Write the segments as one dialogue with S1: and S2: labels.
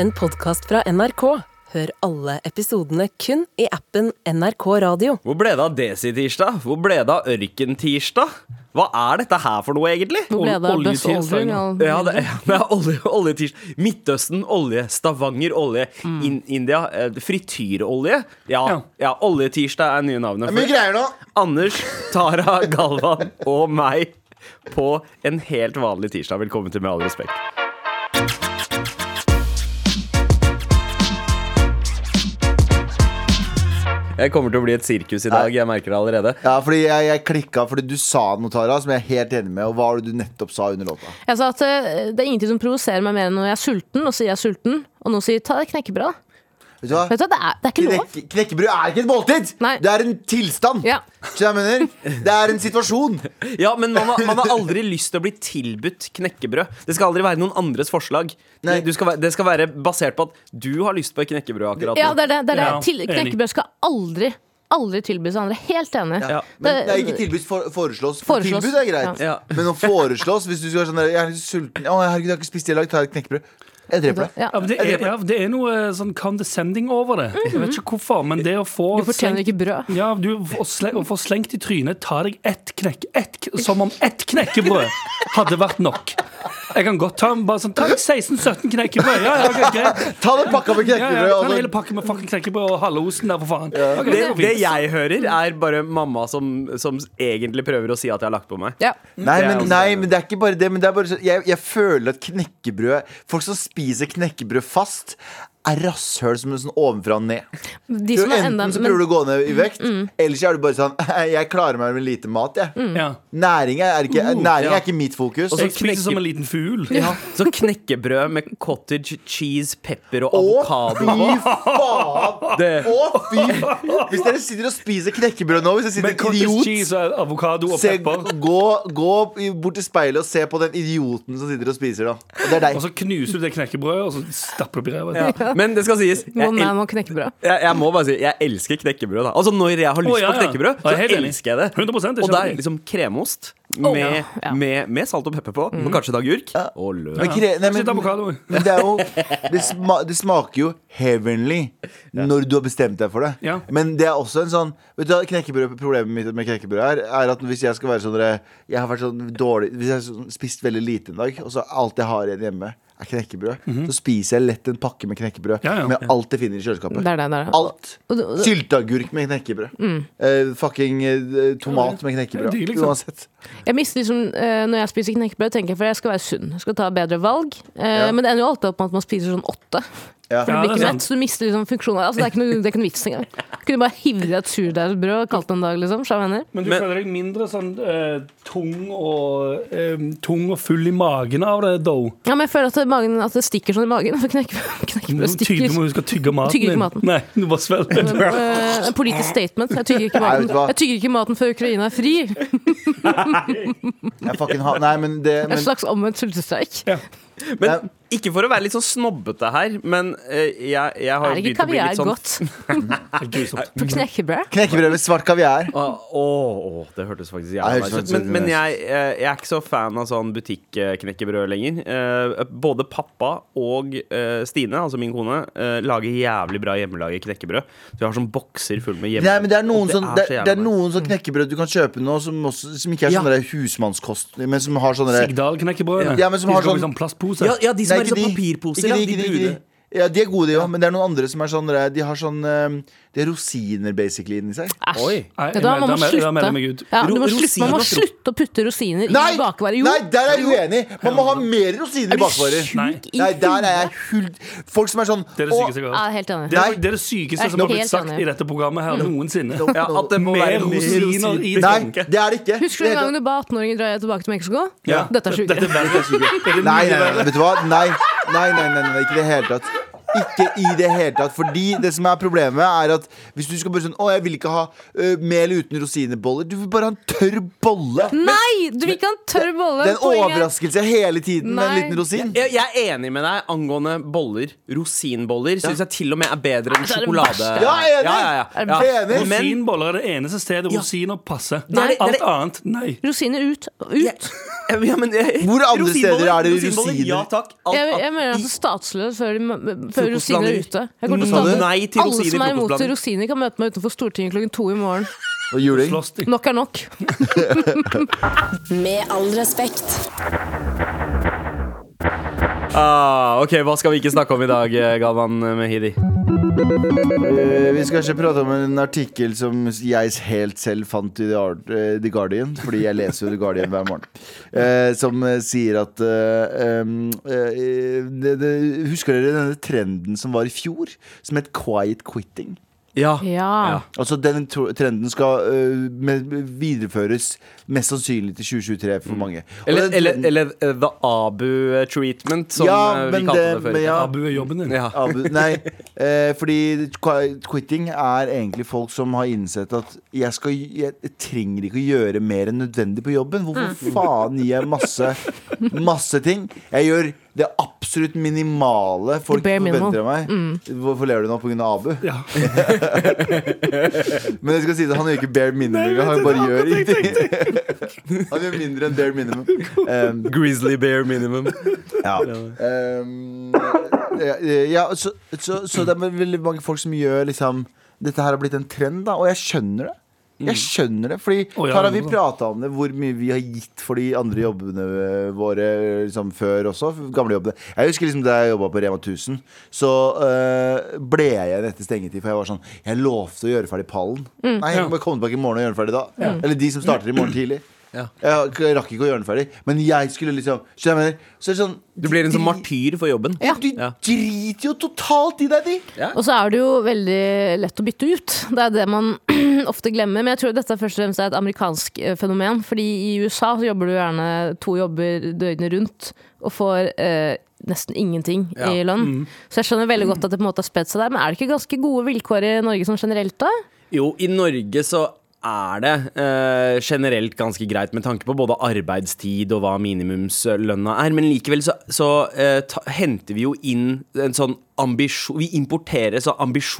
S1: en podkast fra NRK. Hør alle episodene kun i appen NRK Radio.
S2: Hvor ble det av Desi-tirsdag? Hvor ble det av Ørken-tirsdag? Hva er dette her for noe, egentlig?
S3: Hvor ble det av Buzz
S4: oljetirsdag.
S3: Aldrin? og-
S2: Ja, det, ja, det er olje, oljetirsdag. Midtøsten, olje. Stavanger, olje.
S3: Mm.
S2: In, India, eh, frityrolje. Ja,
S4: Ja.
S2: ja, oljetirsdag er nye navnet.
S5: Mye
S2: For.
S5: greier nå.
S2: Anders, Tara, Galvan og meg på en helt vanlig tirsdag. Velkommen til Med all respekt. Jeg kommer til å bli et sirkus i dag. Jeg merker det allerede.
S5: Ja, fordi jeg, jeg klikka fordi du sa noe, Tara, som jeg er helt enig med. Og hva var det du nettopp sa under låta?
S3: Jeg sa at eh, det er ingenting som provoserer meg mer enn når jeg er sulten, og sier jeg er sulten, og noen sier ta deg knekkebrød.
S5: Vet du hva?
S3: Vet du hva, det er, det er ikke lov.
S5: Knek knekkebrød er ikke et måltid!
S3: Nei.
S5: Det er en tilstand.
S3: Ja.
S5: Skjønner du hva jeg mener? Det er en situasjon.
S2: Ja, men man har, man har aldri lyst til å bli tilbudt knekkebrød. Det skal aldri være noen andres forslag.
S5: Nei.
S2: Du skal, være- det skal være basert på at du har lyst på et knekkebrød akkurat
S3: Ja,
S2: nå.
S3: det er det. det, er det.
S4: Ja,
S3: Til,
S4: enig.
S3: knekkebrød skal aldri, aldri tilbys andre. Helt enig.
S2: Ja.
S5: Men det
S3: Det-
S5: er ikke tilbud for, foreslås.
S3: Foreslås.
S5: Tilbud er greit.
S2: Ja.
S5: Men å foreslås hvis du skal være sånn der, Jeg er litt sulten. Å, herregud, jeg har ikke spist i dag. Ta et knekkebrød. Jeg dreper deg.
S3: Ja.
S4: Ja, men det, er, ja, det er noe sånn condescending over det. Jeg vet ikke hvorfor, men det å få
S3: Du fortjener ikke brød.
S4: Ja, du å sle- å få slengt i trynet, ta deg ett knekk, ett, k- som om ett knekkebrød hadde vært nok. Jeg kan godt ta en- bare sånn, ta deg 16-17 knekkebrød. Ja, ja, ok, greit.
S5: Ta den pakka med
S4: Ja, ja, Sånn ta en
S5: knekkebrød. altså.
S4: hele
S5: og-
S4: pakke med fucking knekkebrød og halve osten der, for faen. Ok,
S2: Det,
S4: går fint.
S2: det jeg hører, er bare mamma som, som egentlig prøver å si at jeg har lagt på meg.
S3: Ja.
S5: Nei
S2: Det er
S5: men,
S2: også-
S5: nei, men det er ikke bare det. Men det er bare så, jeg, jeg føler at knekkebrød Folk som spiser knekkebrød fast, er rasshøl som er sånn ovenfra og ned.
S3: De
S5: Du,
S3: som er
S5: enten
S3: enda
S5: så
S3: men- Mm,
S5: prøver du å gå ned i vekt, eller så er du bare sånn Jeg klarer meg med lite mat, jeg.
S4: ja.
S5: Næring er ikke,
S4: Uh,
S5: næring
S2: ja.
S5: er ikke mitt fokus.
S2: så
S4: Jeg spiser som en liten fugl. Ja.
S2: Så knekkebrød med cottage cheese, pepper og
S5: Å,
S2: avokado.
S5: fy faen!
S2: Det-
S5: Å, fy! Hvis dere sitter og spiser knekkebrød nå, hvis det
S4: Med
S5: sitter en
S4: cottage
S5: idiot
S4: cheese og avokado og
S5: se,
S4: pepper.
S5: gå, gå i- bort til speilet og se på den idioten som sitter og spiser, da. Og det er
S4: Og
S5: deg.
S4: så knuser du det knekkebrødet, og så stapper du opp i ræva.
S2: Ja. Men det skal sies, jeg,
S3: One man
S2: el
S3: og knekkebrød.
S2: jeg, jeg må bare si jeg elsker knekkebrød. Da. Altså Når jeg har lyst
S4: Å, ja,
S2: på
S4: ja.
S2: knekkebrød,
S4: Ja,
S2: så
S4: jeg er helt enig.
S2: elsker jeg det.
S4: 100% jeg
S2: og det
S4: skjønner
S2: er
S4: det.
S2: liksom kremost med,
S3: ja, ja. Mm.
S2: Med, med salt og pepper på, og kanskje en agurk. Og løk.
S5: Men, kre, nei,
S4: Sitt
S5: men,
S4: avokado.
S5: men det er jo det, sma, det smaker jo heavenly når du har bestemt deg for det.
S4: Ja.
S5: Men det er også en sånn Vet du hva knekkebrød, Problemet mitt med knekkebrød er, er at hvis jeg skal være sånn dere, Jeg har vært sånn dårlig Hvis jeg har sånn- spist veldig lite en dag, og så alt jeg har igjen hjemme, er knekkebrød, så spiser jeg lett en pakke med knekkebrød
S4: Mhm. Ja, ja.
S5: med alt jeg finner i kjøleskapet.
S3: Det er det. det, er det. Mm.
S5: Alt.
S3: Og du- og du-
S5: Sylteagurk med knekkebrød. Eh, fucking eh, tomat med knekkebrød.
S4: Det er digg, liksom.
S5: Uansett.
S3: Jeg mister liksom, eh, Når jeg spiser knekkebrød, tenker jeg for jeg skal være sunn. Jeg skal ta bedre valg. Eh,
S5: Ja.
S3: Men det ender jo alltid opp med at man spiser sånn åtte.
S5: Ja.
S3: For du blir
S4: det er
S3: ikke
S4: sant.
S3: mett, så du mister liksom funksjonen. Altså, det, er ikke noe, det er ikke noe vits engang. Kunne bare hivd i et surdeigsbrød og kalt det en dag, liksom. Så jeg mener.
S4: Men du
S2: Men-
S4: føler deg mindre sånn eh, tung, og, eh, tung og full i magen av det, though?
S3: Ja, men jeg føler at det, magen, at det stikker sånn i magen. For knekkebrød,
S4: Du
S3: knekkebrød
S4: tygger,
S3: stikker.
S4: må huske å tygge maten
S3: Tygger ikke
S4: din.
S3: maten.
S4: Nei, du bare svelger.
S3: Eh, En politisk statement. Jeg tygger ikke
S5: Nei, vet
S3: maten,
S5: du hva?
S3: jeg tygger ikke maten før Ukraina er fri. En
S5: Jeg fucking ha, nei, men det men,
S3: slags omvendt sultestreik.
S2: Men ikke for å være litt sånn snobbete her, men eh, jeg, jeg har
S3: Er
S2: jo begynt å
S3: ikke
S2: bli
S3: kaviar
S2: litt sånn
S3: godt
S4: Grusomt.
S3: på knekkebrød?
S5: Knekkebrød med svart kaviar.
S2: Å, å, Ah, det hørtes faktisk
S5: Ja, det
S2: jævlig nice
S5: hørtes
S2: ut. Men,
S5: faktisk
S2: men
S5: nice ut.
S2: jeg, eh, jeg er ikke så fan av sånn butikknekkebrød lenger. Eh, Både pappa og eh, Stine, altså min kone, eh, lager jævlig bra hjemmelaget knekkebrød. Så vi har sånn bokser full med hjemme...
S5: Nei, men det er noen,
S2: Og
S5: sånn, det,
S2: så jævlig
S5: det er
S2: nice.
S5: noen sånn knekkebrød du kan kjøpe nå, som, også, som ikke er
S2: Ja.
S5: sånn der husmannskost, men som har sånn der-
S4: Mm. Sigdal-knekkebrødene.
S5: Ja, men som
S4: De
S5: har
S4: skal gå i
S5: sånn-
S4: sånn plastpose.
S2: ja, ja, de som
S5: Nei,
S2: er i
S5: ikke
S2: sånn
S5: de.
S2: papirposer.
S5: Ikke
S2: ja,
S5: de,
S2: de
S5: ikke de, ikke
S2: brune.
S5: de. Ja, de er gode, de òg, men det er noen andre som er sånn der, De har sånn eh, De har rosiner basically inni seg.
S3: Æsj.
S2: Oi.
S3: Vet
S4: Nei,
S3: du hva,
S4: da
S3: man må
S4: mel- da melder jeg meg
S3: slutte.
S4: ut.
S3: Ja, du må
S2: Ro-
S3: slutte. Man må
S2: rosin og
S3: slutte å putte rosiner i
S5: Nei!
S3: bakvarer. Jo,
S5: Nei, der er jeg uenig! Man må ha mer rosiner i bakvarer.
S4: Nei,
S3: i
S5: Nei, der er jeg
S3: huet.
S5: hult Folk som er sånn
S4: det er det
S5: «Å,
S4: sykeste jeg
S3: Ja,
S4: har hørt.
S3: jeg er helt enig.
S4: Det
S5: Nei.
S4: er det, er det sykeste
S3: Jeg er
S4: som har blitt
S3: helt
S4: sagt
S3: enig.
S4: i dette programmet her noensinne.
S2: Ja, at det må
S4: Mer
S2: være mer
S4: rosiner i
S2: rosiner.
S5: Nei,
S4: tanken.
S5: det er det ikke.
S3: Husker du
S5: Det
S3: en
S5: er-
S3: gang du ba 18-åringer dra tilbake til Mexico?
S4: Ja.
S3: Dette er sjukt.
S4: Dette er verre. Det er
S5: Nei, nei,
S4: mye
S5: nei,
S4: verre.
S5: vet du hva? Nei, nei, nei, nei, nei ikke i det hele tatt. Ikke i det hele tatt. Fordi det som er problemet, er at hvis du skal bare sånn Å, jeg vil ikke ha ø, mel uten rosineboller. Du vil bare ha en tørr bolle.
S3: Nei! Du vil ikke ha en tørr bolle.
S5: Det er en
S3: Poenget-
S5: overraskelse hele tiden med en
S3: Nei.
S5: liten rosin.
S2: Jeg, jeg er enig med deg angående boller. Rosinboller syns jeg til og med er bedre enn
S3: det er det
S2: sjokolade.
S3: verste.
S5: Ja, jeg er enig.
S2: Ja, ja, ja. Ja.
S5: Jeg er enig.
S2: Men-
S4: Rosinboller er det eneste stedet rosiner passer.
S2: Nei, det-
S4: Alt
S2: det-
S4: annet, nei.
S3: Rosiner ut. Ut. Jeg,
S2: Ja, men,
S5: Hvor andre steder er det rosiner?
S2: Ja takk. Alt-
S3: jeg
S2: alt-
S3: mener at statsløs før, de, før rosiner er ute. Jeg kommer til å
S5: Sa du?
S3: starte-
S2: Nei til
S3: Alle
S2: rosiner i
S3: som er imot
S2: frokostblanding.
S3: rosiner, kan møte meg utenfor Stortinget klokken to i morgen.
S5: Og juling.
S4: Slåss de.
S3: Nok er nok.
S1: Med all respekt.
S2: Ah, ok, Hva skal vi ikke snakke om i dag, eh, Galvan Mehidi?
S5: Eh, vi skal ikke prate om en artikkel som jeg helt selv fant i The, Ar- eh, The Guardian, fordi jeg leser jo The Guardian hver morgen, eh, som eh, sier at eh, em, eh, det, det, Husker dere denne trenden som var i fjor, som het quiet quitting?
S2: Ja.
S3: Ja.
S5: Altså Den tro- trenden skal eh, med, videreføres mest sannsynlig til 2023 for mange. Og
S2: Eller,
S5: den
S2: eller,
S5: trenden-
S2: eller eh, The Abu eh, Treatment, som
S5: Ja,
S2: eh, vi
S5: men
S2: kalte det,
S5: det-
S2: før.
S5: men ja.
S4: Abu er jobben din.
S2: Ja.
S5: Abu- Nei, eh, fordi qu- quitting er egentlig folk som har innsett at jeg, skal, jeg trenger ikke å gjøre mer enn nødvendig på jobben.
S3: Mm.
S5: Hvorfor faen gir jeg masse, masse ting? Jeg gjør det absolutt minimale folk
S3: bare minimal. Mm.
S5: forventer av meg. Hvorfor ler du nå? På grunn av Abu?
S4: Ja.
S5: Men jeg skal si det, han gjør ikke bare minimum. engang. Han bare gjør ingenting. Han gjør mindre enn bare minimum. Um,
S2: Grizzly Bear Minimum.
S5: Ja. Ehm, ja, eh, ja så, så, så det er veldig mange folk som gjør liksom Dette her har blitt en trend, da, og jeg skjønner det. Jeg skjønner det, fordi
S4: Mm. Å, ja,
S5: her har vi
S4: det er bra.
S5: prata om det, hvor mye vi har gitt for de andre jobbene våre liksom, før også. Gamle jobbene. Jeg husker liksom da jeg jobba på Rema 1000, så øh, ble jeg igjen etter stengetid. For jeg var sånn Jeg lovte å gjøre ferdig pallen. Nei, jeg må bare komme tilbake i morgen og gjøre den ferdig da. Eller de som starter i morgen tidlig.
S2: Ja.
S5: Jeg rakk ikke å gjøre den ferdig, men jeg skulle liksom Skjønner du hva jeg mener? Så er det sånn
S2: Du blir en sånn
S5: de-
S2: martyr for jobben.
S5: du driter jo totalt i deg, de!
S3: Og så er det jo veldig lett å bytte ut. Det er det man ofte glemmer. Men jeg tror dette først og fremst er et amerikansk eh, fenomen. Fordi i USA så jobber du gjerne to jobber døgnet rundt og får eh, nesten ingenting i
S2: Ja.
S3: lønn. Så jeg skjønner veldig godt at det på en måte har spredt seg der. Men er det ikke ganske gode vilkår i Norge sånn generelt, da?
S2: Jo, i Norge så er det eh, generelt ganske greit med tanke på både arbeidstid og hva minimumslønna er, men likevel så, så eh, ta, henter vi jo inn en sånn ambisjon Vi importerer så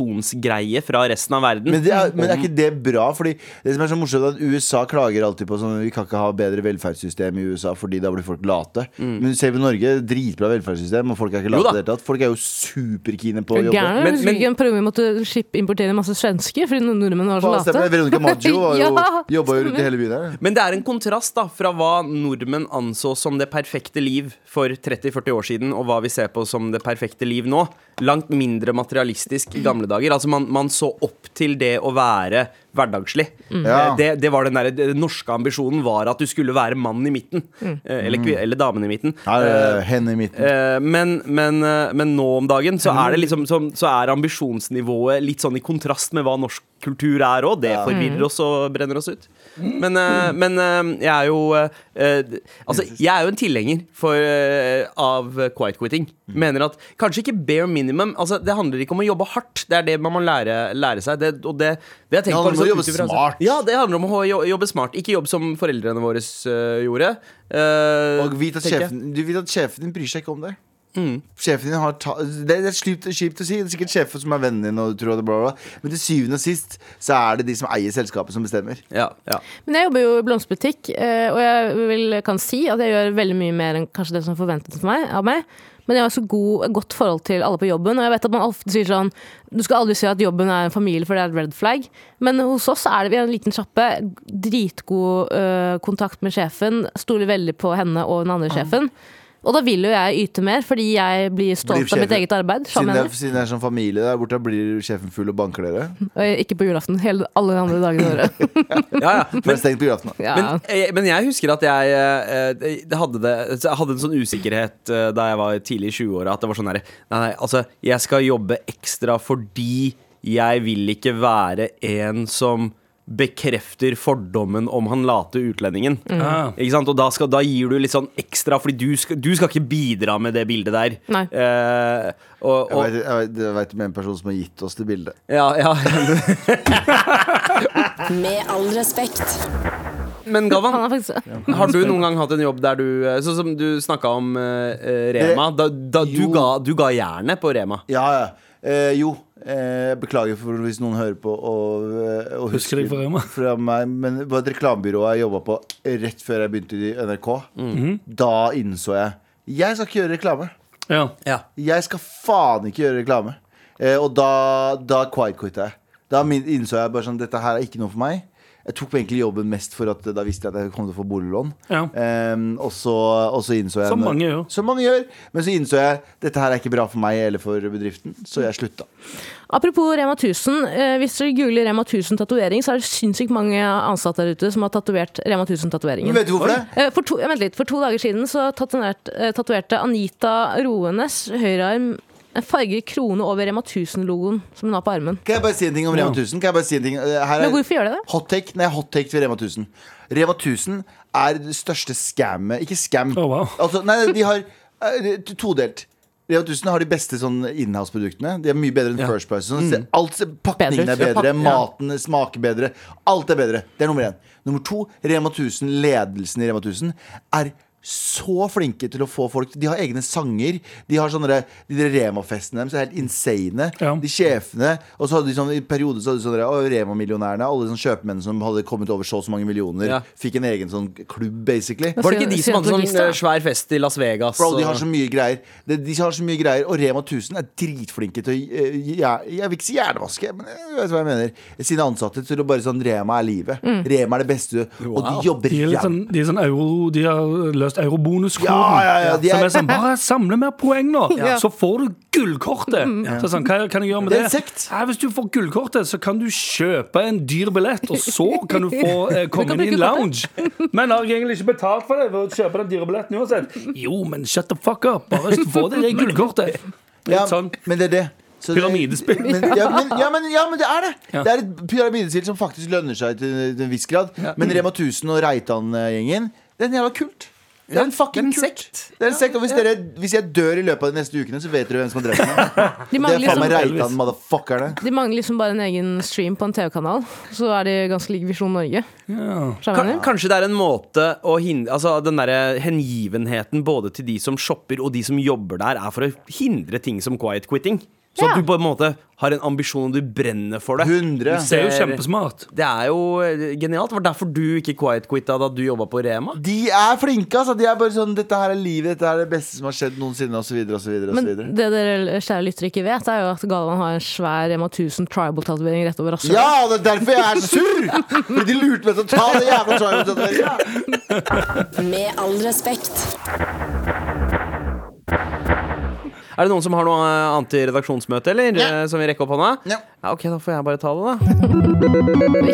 S2: ambisjonsgreie fra resten av verden.
S5: Men, det er, men er ikke det bra? Fordi det som er så morsomt er at USA klager alltid på sånn Vi kan ikke ha bedre velferdssystem i USA fordi da blir folk late. Men se på Norge. Dritbra velferdssystem, og folk er ikke
S2: Jo
S5: late
S2: da.
S5: i det hele tatt. Folk er jo superkine på å
S3: Er du
S5: jobbe.
S3: gæren?
S2: Men-
S3: Husker du
S2: men-
S3: ikke en periode vi måtte eh, skip- importere masse svensker fordi nord- nordmenn var så
S5: Faen, stemmer
S3: late?
S5: det. Veronica Maggio var jo,
S3: Ja,
S5: jobba jo rundt i
S3: stemmer.
S5: hele byen her.
S2: Men det er en kontrast da fra hva nordmenn anså som det perfekte liv for 30-40 år siden, og hva vi ser på som det perfekte liv nå. Langt mindre materialistisk i gamle dager. Altså Man, man så opp til det å være hverdagslig.
S5: Ja.
S2: Eh, Det, det var den, der, den norske ambisjonen var at du skulle være mannen i midten. eh, Eller, kvi- eller damen i midten.
S5: Her er henne i midten.
S2: Eh, men, men, eh, men nå om dagen så er, det liksom, som- så er ambisjonsnivået litt sånn i kontrast med hva norsk kultur er òg. Det
S5: Mm.
S2: forvirrer oss og brenner oss ut. Men, eh, men eh, jeg er jo eh, eh, Altså, jeg er jo en tilhenger for, eh, av quiet quitting.
S5: Mm.
S2: Mener at kanskje ikke bare minimum. Altså, det handler ikke om å jobbe hardt. Det er det man må lære, lære seg. Det, og det, det jeg tenker
S5: Det handler
S2: på,
S5: om
S2: liksom,
S5: å jobbe
S2: utifra-
S5: smart.
S2: Ja, det handler om å jo- jobbe smart. Ikke jobb som foreldrene våre eh, gjorde. Eh,
S5: Og vit at
S2: tenker jeg.
S5: sjefen, du vet at sjefen din bryr seg ikke om deg. Sjefen din har ta, Det er slipt, kjipt å si. Det er sikkert sjefen som er vennen din. Og du tror at det bla, bla, bla. Men til syvende og sist så er det de som eier selskapet, som bestemmer.
S2: Ja, ja.
S3: Men jeg jobber jo i blomsterbutikk, eh, og jeg vil, kan si at jeg gjør veldig mye mer enn kanskje det som er forventet for meg, av meg. Men jeg har så god, et godt forhold til alle på jobben. Og jeg vet at man ofte sier sånn Du skal aldri si at jobben er en familie, for det er et red flag. Men hos oss er det vi er en liten sjappe. Dritgod eh, kontakt med sjefen. Stoler veldig på henne og den andre sjefen. Og da vil jo jeg yte mer, fordi jeg blir stolt
S5: Blir
S3: av mitt
S5: sjefen-
S3: eget arbeid.
S5: Siden
S3: Sjamen,
S5: det, er- siden det er sånn familie der borte, blir sjefen full og banker dere.
S3: Ikke på julaften. Hele, alle de andre dagene i året.
S2: ja, ja.
S5: For det er stengt på julaften. da.
S3: Ja.
S2: Men, jeg- men jeg husker at jeg eh, eh, hadde, det, så jeg hadde en sånn usikkerhet eh, da jeg var tidlig i 20-åra. At det var sånn herre Nei, nei, altså, jeg skal jobbe ekstra fordi jeg vil ikke være en som bekrefter fordommen om han late utlendingen.
S3: Mm.
S4: Ah.
S2: Ikke sant? Og da, skal, da gir du litt sånn ekstra, Fordi du skal, du skal ikke bidra med det bildet der.
S3: Nei.
S2: Eh, og,
S5: Jeg
S2: og,
S5: vet, jeg, vet, jeg vet om en person som har gitt oss det bildet.
S2: ja, ja.
S1: Med all respekt.
S2: Men
S3: Han
S2: Galvan,
S3: er faktisk
S2: har du noen gang hatt en jobb der du eh, Sånn som du snakka om eh, eh, Rema. Da, da, du,
S5: Jo.
S2: ga, du ga jernet på Rema.
S5: Ja, ja. Eh, jo. Eh, beklager for hvis noen hører på og, eh, og
S4: Husker deg for Rema.
S5: fra meg. Men det var et reklamebyrå jeg jobba på rett før jeg begynte i NRK.
S4: Mm.
S5: Da innså jeg jeg skal ikke gjøre reklame.
S4: Ja.
S2: Ja.
S5: Jeg skal faen ikke gjøre reklame. Eh, og da, da quiet-quitta jeg. Da min- innså jeg bare sånn dette her er ikke noe for meg. Jeg tok egentlig jobben mest for at eh, da visste jeg at jeg kom til å få boliglån.
S4: Ja.
S5: Ehm, og, så, og så innså jeg
S4: Som mange gjør.
S5: Som mange gjør. Men så innså jeg dette her er ikke bra for meg eller for bedriften, så jeg slutta.
S3: Apropos Rema 1000. Eh, hvis dere googler Rema 1000-tatovering, så er det sinnssykt mange ansatte der ute som har tatovert Rema 1000-tatoveringen.
S5: Men vet du hvorfor det?
S3: Eh, For to, ja, vent litt, for to dager siden så tatovert- eh, tatoverte Anita Roenes høyrearm en farget krone over Rema 1000-logoen som hun har på armen.
S5: Kan jeg bare si en ting om Rema 1000? Kan jeg bare si en ting? Eh, Her
S3: Men hvorfor gjør de det?
S5: Hot take, nei, hot take til Rema 1000. Rema 1000 er det største skammet. Ikke skam.
S4: Å, wow.
S5: altså, nei, de har eh, t- todelt. Rema 1000 har de beste sånn inhouse-produktene. De er mye bedre enn First Price. Sånn. Se, Alt, pakningen
S3: Mm.
S5: er
S3: Bedre ut, ja,
S5: bedre,
S3: pak- ja.
S5: maten smaker bedre. Alt er bedre. Det er nummer én. Nummer to, Rema 1000, ledelsen i Rema 1000 er så flinke til å få folk De har egne sanger. De har sånne der- de der Rema-festene deres er helt insane.
S4: Ja.
S5: De sjefene. Og så hadde de sånn, i perioder så hadde de sånn der, «Å, Rema-millionærene. Alle sånne kjøpmenn som hadde kommet over så og så mange millioner,
S2: Ja.
S5: fikk en egen sånn klubb, basically.
S2: Var det ikke de som hadde sånn
S3: Scientologist,
S2: eh, svær fest i Las Vegas?
S5: Bro,
S2: og-
S5: de har så mye greier. De, de har så mye greier Og Rema 1000 er dritflinke til å eh, gjer- Jeg vil ikke si hjernevaske, men jeg vet hva jeg mener. Sine ansatte til å bare sånn Rema er livet.
S2: Mm.
S5: Rema er det beste du Og de jobber
S4: De er litt
S5: jævlig-
S4: sånn, de, er sånn euro, de har løst eurobonuskoden.
S5: Ja, ja, ja, de
S4: som
S5: er-
S4: er sånn Bare samle mer poeng nå,
S3: Ja.
S4: så får du gullkortet! Så sånn, hva kan jeg gjøre med
S5: Mm. Det
S4: det?
S5: er en sekt.
S4: Nei, hvis du får gullkortet, så kan du kjøpe en dyr billett, og så kan du få eh, komme
S3: kan
S4: inn i en
S3: bruke
S4: lounge. Men har jeg egentlig ikke betalt for det ved å kjøpe den dyre billetten uansett? Jo, men shut the fuck up! Bare få det der gullkortet.
S5: Ja,
S4: Litt sånn.
S5: Men det er det. Så det-
S4: Pyramidespill.
S5: Men, ja, men, ja, men, ja, men det er det! Det er et pyramidespill som faktisk lønner seg til, til en viss grad. Men Rema 1000 og Reitan-gjengen, det er en jævla kult. Det er en fucking
S2: det er en
S5: kult.
S2: sekt.
S5: Det er en sekt. Og hvis, dere, hvis jeg dør i løpet av de neste ukene, så vet dere hvem som har drept meg.
S3: De
S5: Det
S3: mangler,
S5: er faen meg
S3: liksom,
S5: Reitan-motherfuckerne.
S3: de mangler liksom bare en egen stream på en TV-kanal. Så er de ganske like Visjon Norge.
S4: Ja.
S2: Kan,
S3: Skjønner du?
S2: Kanskje det er en måte å hindre Altså den der hengivenheten både til de som shopper og de som jobber der, er for å hindre ting som quiet quitting. Så
S3: Ja.
S2: at du på en måte har en ambisjon og du brenner for det.
S5: 100.
S4: Det er jo kjempesmart.
S2: Det er jo eh, genialt. Det var derfor du ikke quiet quitta da du jobba på Rema.
S5: De er flinke, altså. De er bare sånn 'Dette her er livet. Dette er det beste som har skjedd noensinne', osv.,
S3: Men
S5: osv.
S3: det dere kjære lyttere ikke vet, er jo at Galvan har en svær Rema 1000 tribal-tatovering rett over rasshølet.
S5: Ja, det er derfor jeg er så sur! Fordi de lurte meg til å ta det jævla trial.
S1: Med all respekt.
S2: Er det noen som har noe eh, annet i redaksjonsmøtet, eller? eh, Som vil rekke opp hånda?
S5: Ja.
S2: ja, ok, da får jeg bare ta det, da.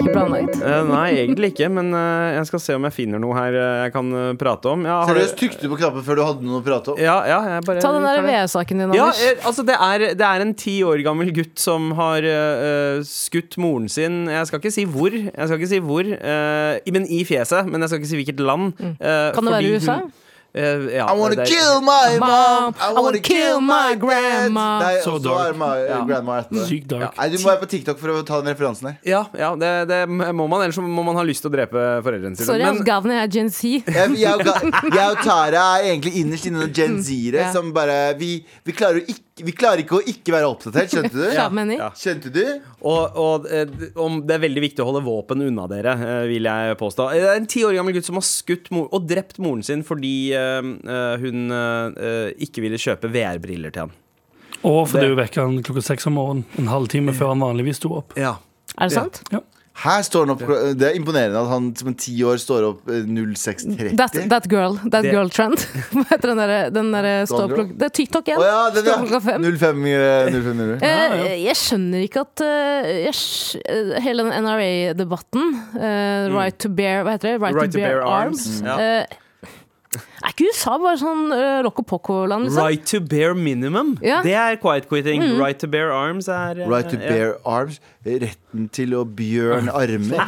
S3: Ikke planlagt.
S2: Eh, nei, egentlig ikke, men eh, jeg skal se om jeg finner noe her eh, jeg kan eh, prate om. Ja, har du-
S5: Seriøst, tykte du på knappen før du hadde noe å prate om?
S2: Ja, ja, jeg bare
S3: Ta den der
S2: tar det.
S3: VE-saken din,
S2: Ja,
S3: Anders.
S2: eh, altså det er, det er en ti år gammel gutt som har eh, eh, skutt moren sin Jeg skal ikke si hvor, jeg skal ikke si hvor eh, i- men i fjeset. Men jeg skal ikke si hvilket land. eh,
S3: Mm. Kan det
S2: fordi
S3: være
S2: hun-
S3: USA?
S2: eh, ja,
S5: I wanna
S2: det er-
S5: kill my mom.
S3: Mom,
S5: I wanna kill my grandma. Nei,
S4: So
S5: og så
S4: dark.
S5: er my eh, grandma etter det.
S4: Sykt dark.
S5: Nei, du må være på TikTok for å ta den referansen her.
S2: Ja, ja det, det må man, ellers så må man ha lyst til å drepe foreldrene sine.
S3: Sorry,
S2: men,
S3: ass, Galvan jeg er Gen Z.
S5: Jeg, jeg, og Ga- jeg og Tara er egentlig innerst inne noen Gen Z-ere
S3: Ja.
S5: som bare vi, vi, klarer å ikke, vi klarer ikke å ikke være oppdatert, skjønte du?
S3: Ja. mening.
S2: ja.
S5: Skjønte du?
S2: Og, og eh, om det er veldig viktig å holde våpen unna dere, eh, vil jeg påstå. Det er en ti år gammel gutt som har skutt mor og drept moren sin fordi eh, eh, hun eh, eh, ikke ville kjøpe VR-briller til han.
S4: Og fordi hun vekker han klokka seks om morgenen, en halvtime
S5: Mm.
S4: før han vanligvis sto opp.
S2: Ja
S3: Er det sant?
S4: Ja.
S5: Her står han opp klo- Det er imponerende at han som en ti år står opp eh, 06.30.
S3: That, that girl. That
S2: Det-
S3: girl trend. Hva heter den derre den der stå opp
S5: girl?
S3: klok- Det er TikTok igjen.
S5: Å ja, den,
S3: Stå opp klokka fem.
S5: 05, eh, 0500.
S3: Eh,
S4: Ja, ja.
S3: Jeg skjønner ikke at eh, jeg, skj- eh, Hele den NRA-debatten, eh, right to bear Hva heter det? Right, to, bear, arms.
S2: Ja.
S3: Eh, Er ikke USA bare sånn eh, rock og poco-land, liksom?
S2: Right to bare minimum.
S3: Ja. Mm.
S2: Det er quiet quitting. Right to bare arms er eh,
S5: Right to
S2: ja.
S5: bear arms. Retten til å bjørne armer.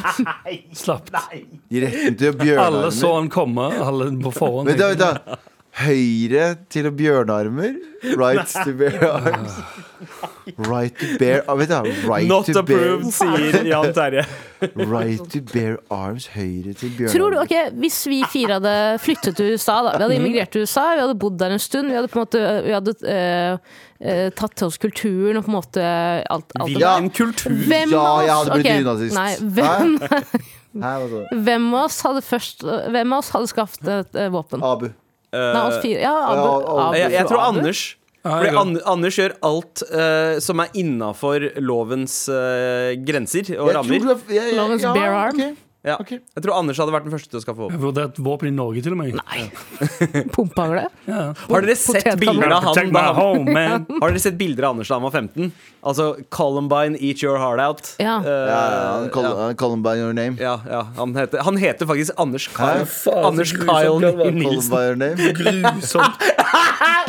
S4: Slapp.
S5: Retten til å bjørne
S4: Alle så
S5: armer.
S4: han komme, alle på forhånd.
S5: Vent da, vent da. Høyre til å bjørnearmer. Right to bear arms. Right to bear ah, Vent da. Right
S2: Not
S5: to bear,
S2: approved, sier Jan Terje.
S5: right to bear arms. Høyre til
S3: Tror du,
S5: bjørnearmer.
S3: ok, Hvis vi fire hadde flyttet til USA, da Vi hadde
S5: Mhm.
S3: immigrert til USA, vi hadde bodd der en stund. Vi hadde på en måte vi hadde, eh, eh, tatt til oss kulturen og på en måte alt, alt det der.
S2: Hvilken kultur?
S3: Hvem
S5: Ja,
S3: av
S5: jeg
S3: oss-
S5: hadde blitt
S3: ok,
S5: nynazist.
S3: Nei, hvem,
S5: Hæ, hva sa du?
S3: hvem av oss hadde først Hvem av oss hadde skaffet et eh, våpen?
S5: Abu.
S3: Nei, oss fire. Ja, Abu.
S5: Ah, Ja, Abu.
S3: Abu.
S2: Jeg, jeg tror
S3: Abu.
S2: Anders
S4: Ja,
S2: Fordi
S4: jeg går.
S2: An Anders gjør alt eh, som er innafor lovens eh, grenser og
S5: Jeg
S2: rammer.
S5: tror du- jeg-
S3: Lawrence bear arm.
S5: ok.
S2: Ja.
S5: Ok.
S2: Jeg tror Anders hadde vært den første til å skaffe våpen.
S4: Jeg vurderte våpen i Norge, til og med.
S3: Nei. Pumpehagle?
S2: Har dere sett
S3: Potetkamera.
S2: bilder av
S4: Protect
S2: han
S4: my
S2: da han
S4: home, man.
S2: Har dere sett bilder av Anders da han var 15? Altså Columbine, Eat Your Heart Out.
S3: Ja.
S2: Eh,
S5: Ja, ja, han call, han call him by your name.
S2: ja, ja. Han, heter, han heter faktisk Anders Kyle,
S4: faen,
S2: Anders
S4: så
S2: Kyle
S4: grusomt det var.
S5: Call him
S2: Nilsen.
S5: by your name.
S4: Grusomt.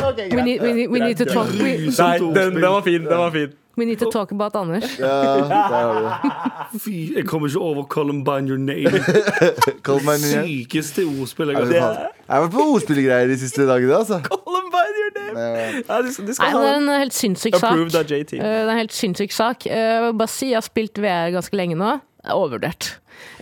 S3: We need, we, need, we, need to talk, we,
S2: Nei, den, den var fin. Den var fin.
S3: we need to talk about Anders.
S5: Ja, der har du det.
S4: Fy, jeg kommer ikke over Columbine Your Name.
S5: Call him by your name.
S4: Sykeste ordspill jeg
S5: Jeg
S4: har hørt.
S5: har vært på ordspillgreier de siste dagene. Altså.
S2: Columbine, your name!
S5: Eh,
S2: Ja, du, du skal
S3: Nei, men Det
S2: ha
S3: er
S2: den.
S3: en helt sinnssyk
S2: Approved
S3: sak.
S2: av JT.
S3: Eh, Det er en helt sinnssyk sak. Eh, Jeg vil bare si, jeg har spilt VR ganske lenge nå. Det er overvurdert.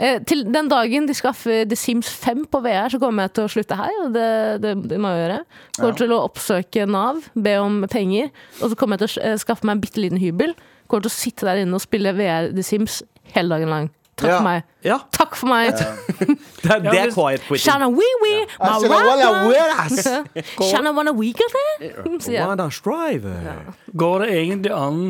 S3: Eh, Til den dagen de skaffer The Sims 5 på VR, så kommer jeg til å slutte her. og Det, det, det må jeg gjøre. Kommer til å oppsøke Nav, be om penger. Og så kommer jeg til å sk- eh, skaffe meg en bitte liten hybel. Kommer til å sitte der inne og spille VR The Sims hele dagen lang. Takk
S5: Ja.
S3: for meg.
S2: Ja,
S3: Takk for meg.
S2: det er, det er
S4: hvis-
S2: quiet quitting.
S3: Shana wee wee, my
S5: Shana walla
S3: wife. Shana wanna wiggle there? Sier jeg.
S2: Wanna strive?
S4: Går det egentlig an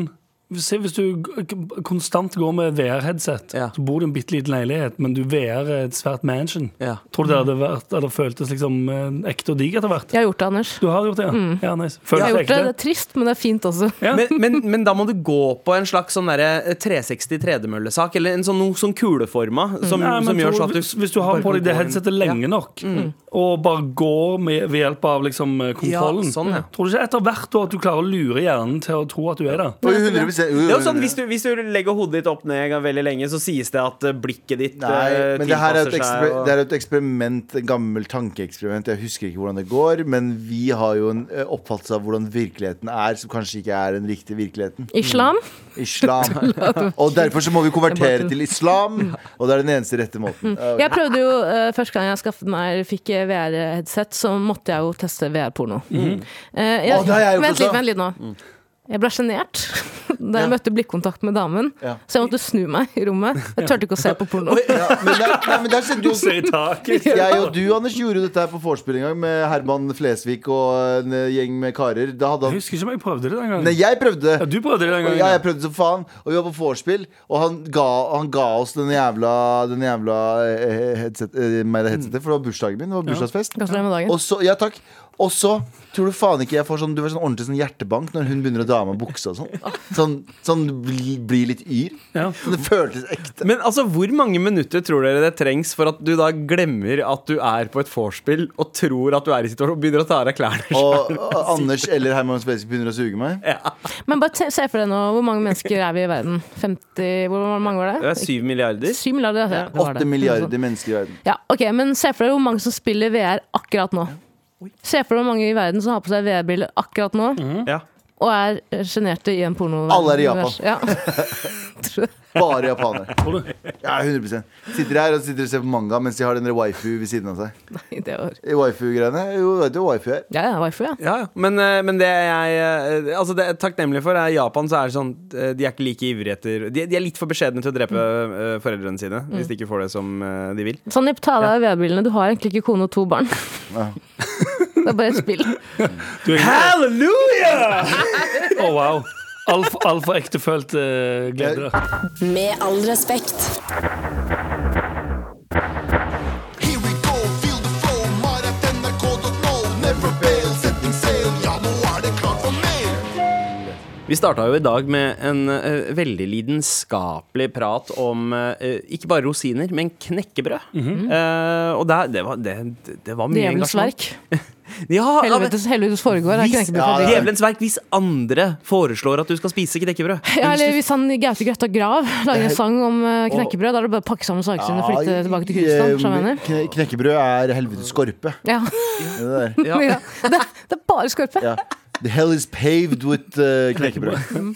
S4: Se, Hvis du g- g- konstant går med VR-headset,
S2: Ja.
S4: så bor du i en bitte liten leilighet, men du VR er et svært mansion.
S2: Ja.
S4: Tror du det hadde vært, eller føltes liksom eh, ekte og digg etter hvert?
S3: Jeg har gjort det, Anders.
S4: Du har gjort det, ja? ja nice.
S3: Mm. Jeg har
S4: Føltes
S3: gjort det. Det
S4: ekte?
S3: er trist, men det er fint også.
S4: Ja.
S2: Men, men, men da må du gå på en slags sånn derre 360 tredemøllesak, eller en sånn, noe sånn kuleforma, som,
S4: Mm. Nei, men
S2: som gjør
S4: tror-
S2: sånn at
S4: hvis,
S2: du
S4: hvis du har
S2: bare
S4: på
S2: kan
S4: deg
S2: gå
S4: det
S2: inn.
S4: headsetet lenge nok, og bare går med, ved hjelp av liksom, eh, kontrollen,
S2: Ja, sånn, ja.
S4: tror du ikke etter hvert da at du klarer å lure hjernen til å tro at du er der?
S5: oi, 100%, oi, oi,
S2: Det er jo sånn,
S5: oi.
S2: hvis du, hvis du legger hodet ditt opp ned veldig lenge, så sies det at eh, blikket ditt
S5: Nei,
S2: eh,
S5: men det her er et,
S2: tilpasser seg.
S5: eksper
S2: og-
S5: det er et eksperiment, et gammelt tankeeksperiment. Jeg husker ikke hvordan det går, men vi har jo en eh, oppfattelse av hvordan virkeligheten er, som kanskje ikke er den riktige virkeligheten.
S3: Islam?
S5: Islam. Og derfor så må vi konvertere til islam, og det er den eneste rette måten. Eh,
S3: Jeg prøvde jo, eh, Første gang jeg skaffet meg eller fikk VR-headset, så måtte jeg jo teste VR-porno. Eh, jeg-
S5: Mhm. Å, det har jeg gjort også.
S3: vent
S5: Mm.
S3: litt, vent litt nå. Jeg ble sjenert da jeg møtte blikkontakt med damen.
S5: Ja.
S3: Så jeg måtte snu meg i rommet. Jeg turte ikke å se på porno.
S5: Ja, men der, nei, men der skjedde jo
S4: Se i taket.
S5: Jeg og du, Anders, gjorde jo dette her på vorspiel en gang med Herman Flesvig og en eh, gjeng med karer. Da hadde
S4: Jeg
S5: han
S4: husker ikke om jeg prøvde det den gangen.
S5: Nei, jeg prøvde
S4: Ja, du prøvde det den gangen.
S5: Ja, jeg prøvde som faen, og vi var på vorspiel, og han ga, han ga oss den jævla, den jævla eh, headset, eh, meg det headsetet, for det var bursdagen min. Det var bursdagsfest.
S3: Gratulerer med dagen.
S5: Og så, ja takk Og så tror du faen ikke jeg får sånn Du får sånn ordentlig sånn hjertebank når hun begynner å dra av meg buksa og sånn. Sånn, sånn bli, bli litt yr.
S4: Ja.
S5: Men det føltes ekte.
S2: Men altså, hvor mange minutter tror dere det trengs for at du da glemmer at du er på et vorspiel, og tror at du er i situasjonen, og begynner å ta av deg klærne?
S5: Og, og Anders eller Herman Spesifikt begynner å suge meg.
S3: Men bare te- se for deg nå, hvor mange mennesker er vi i verden? 50 Hvor mange var
S2: Det
S3: det?
S2: er syv milliarder.
S3: Syv milliarder? Ja, det var det.
S5: Åtte milliarder mennesker i verden.
S3: Ja, ok, men se for deg hvor mange som spiller VR akkurat nå. Se for deg hvor mange i verden som har på seg VR-briller akkurat
S5: Mm.
S3: nå,
S2: Ja.
S3: og er sjenerte i en porno.
S5: Alle er i Japan.
S3: Ja.
S5: Bare japanere.
S4: Tror du?
S5: Ja, 100 Sitter her og sitter og ser på manga mens de har den der waifu ved siden av seg.
S3: Nei, det var...
S5: I Waifu-greiene? Jo, vet du hva waifu er?
S3: Ja, ja, waifu, ja.
S2: Ja, ja. Men, eh, men det jeg eh, altså det jeg er takknemlig for, er i Japan så er det sånn eh, De er ikke like ivrige etter de, de er litt for beskjedne til å drepe eh, foreldrene sine hvis de ikke får det som eh, de vil.
S3: Sandeep, ta deg av VR-brillene. Du har egentlig ikke kone og to barn. det er bare et spill.
S4: Du er egentlig-
S2: Halleluja!
S4: Å, wow. Altfor alt for ektefølt eh, glede. der.
S1: Med all respekt.
S6: Here we go, feel the flow, mar.nrk.no. Never fail, setting sail. Ja, nå er det klart for mer.
S2: Vi starta jo i dag med en eh, veldig lidenskapelig prat om eh, ikke bare rosiner, men knekkebrød. Eh, og der, det, var, det, det- det var mye
S3: Djevelens verk.
S2: Ja, ja, men-
S3: Helvetes, helvetes foregår. Er
S2: Hvis,
S5: Ja,
S3: knekkebrødfabrikk.
S5: det er-
S2: djevelens verk hvis andre foreslår at du skal spise knekkebrød.
S3: Ja, eller hvis han Gaute Grøtta Grav lager en sang om eh, knekkebrød, da er det bare å pakke sammen sakene og flytte tilbake til Kurdistan. skjønner du hva jeg mener?
S5: eh, Kne- Knekkebrød er helvetes skorpe.
S3: Ja.
S5: Det der.
S2: Ja.
S3: Ja. Det, det er bare skorpe.
S5: Ja. The hell is paved with eh, knekkebrød.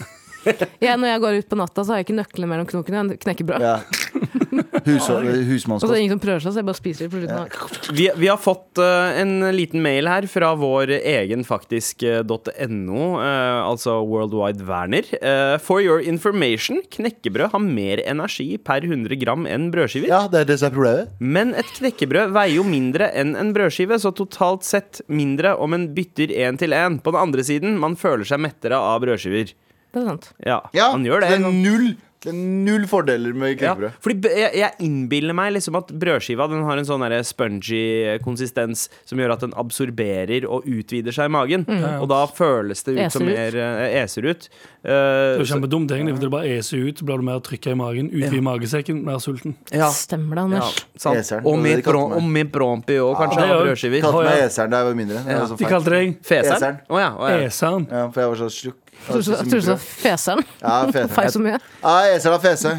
S3: Jeg, når jeg går ut på natta, så har jeg ikke nøklene mellom knokene. Jeg har knekkebrød.
S5: Ja. Hus,
S3: Og så er det
S5: husmannskost.
S3: ingen som prøver seg, så jeg bare spiser det på slutten. av-
S2: Vi, vi har fått eh, en liten mail her fra vår egen faktisk eh, .no, eh, altså Worldwide Werner. Eh, for your information, knekkebrød har mer energi per 100 gram enn brødskiver.
S5: Ja, det er det som er problemet.
S2: Men et knekkebrød veier jo mindre enn en brødskive, så totalt sett mindre om en bytter én til én. På den andre siden, man føler seg mettere av brødskiver.
S3: Det er sant.
S2: Ja,
S5: Ja,
S2: man gjør det.
S5: er null, det er null fordeler med
S2: Ja,
S5: knekkebrød.
S2: fordi b- jeg, jeg innbiller meg liksom at brødskiva den har en sånn derre spongy konsistens som gjør at den absorberer og utvider seg i magen.
S4: Mm.
S2: Og da føles det ut som
S3: Eser ut.
S2: mer eh, eser ut. Eh,
S4: Det er jo
S2: så,
S4: kjempedumt, egentlig, for det bare eser ut. Så blir du mer trykka i magen, utvide magesekken, mer sulten.
S2: ja,
S3: Stemmer det,
S2: ja,
S3: Anders.
S2: sant.
S5: Eseren,
S2: Og
S5: det er
S2: med,
S5: det de kalte
S2: bro,
S5: meg.
S2: og med brompi og kanskje
S4: det
S2: av
S4: er jo-
S2: brødskiver.
S5: Kalte
S4: Å,
S5: meg
S4: ja.
S5: eseren da jeg var mindre. Det var så
S4: De
S5: feil.
S4: kalte deg
S2: Feseren?
S5: Eseren.
S2: Å ja. å ja.
S4: eseren.
S5: Ja, for jeg var så slukk.
S3: Tror du så- tror du så feseren?
S5: Ja,
S3: Fei
S5: fete.
S3: så mye.
S5: Ja, eseren har fese.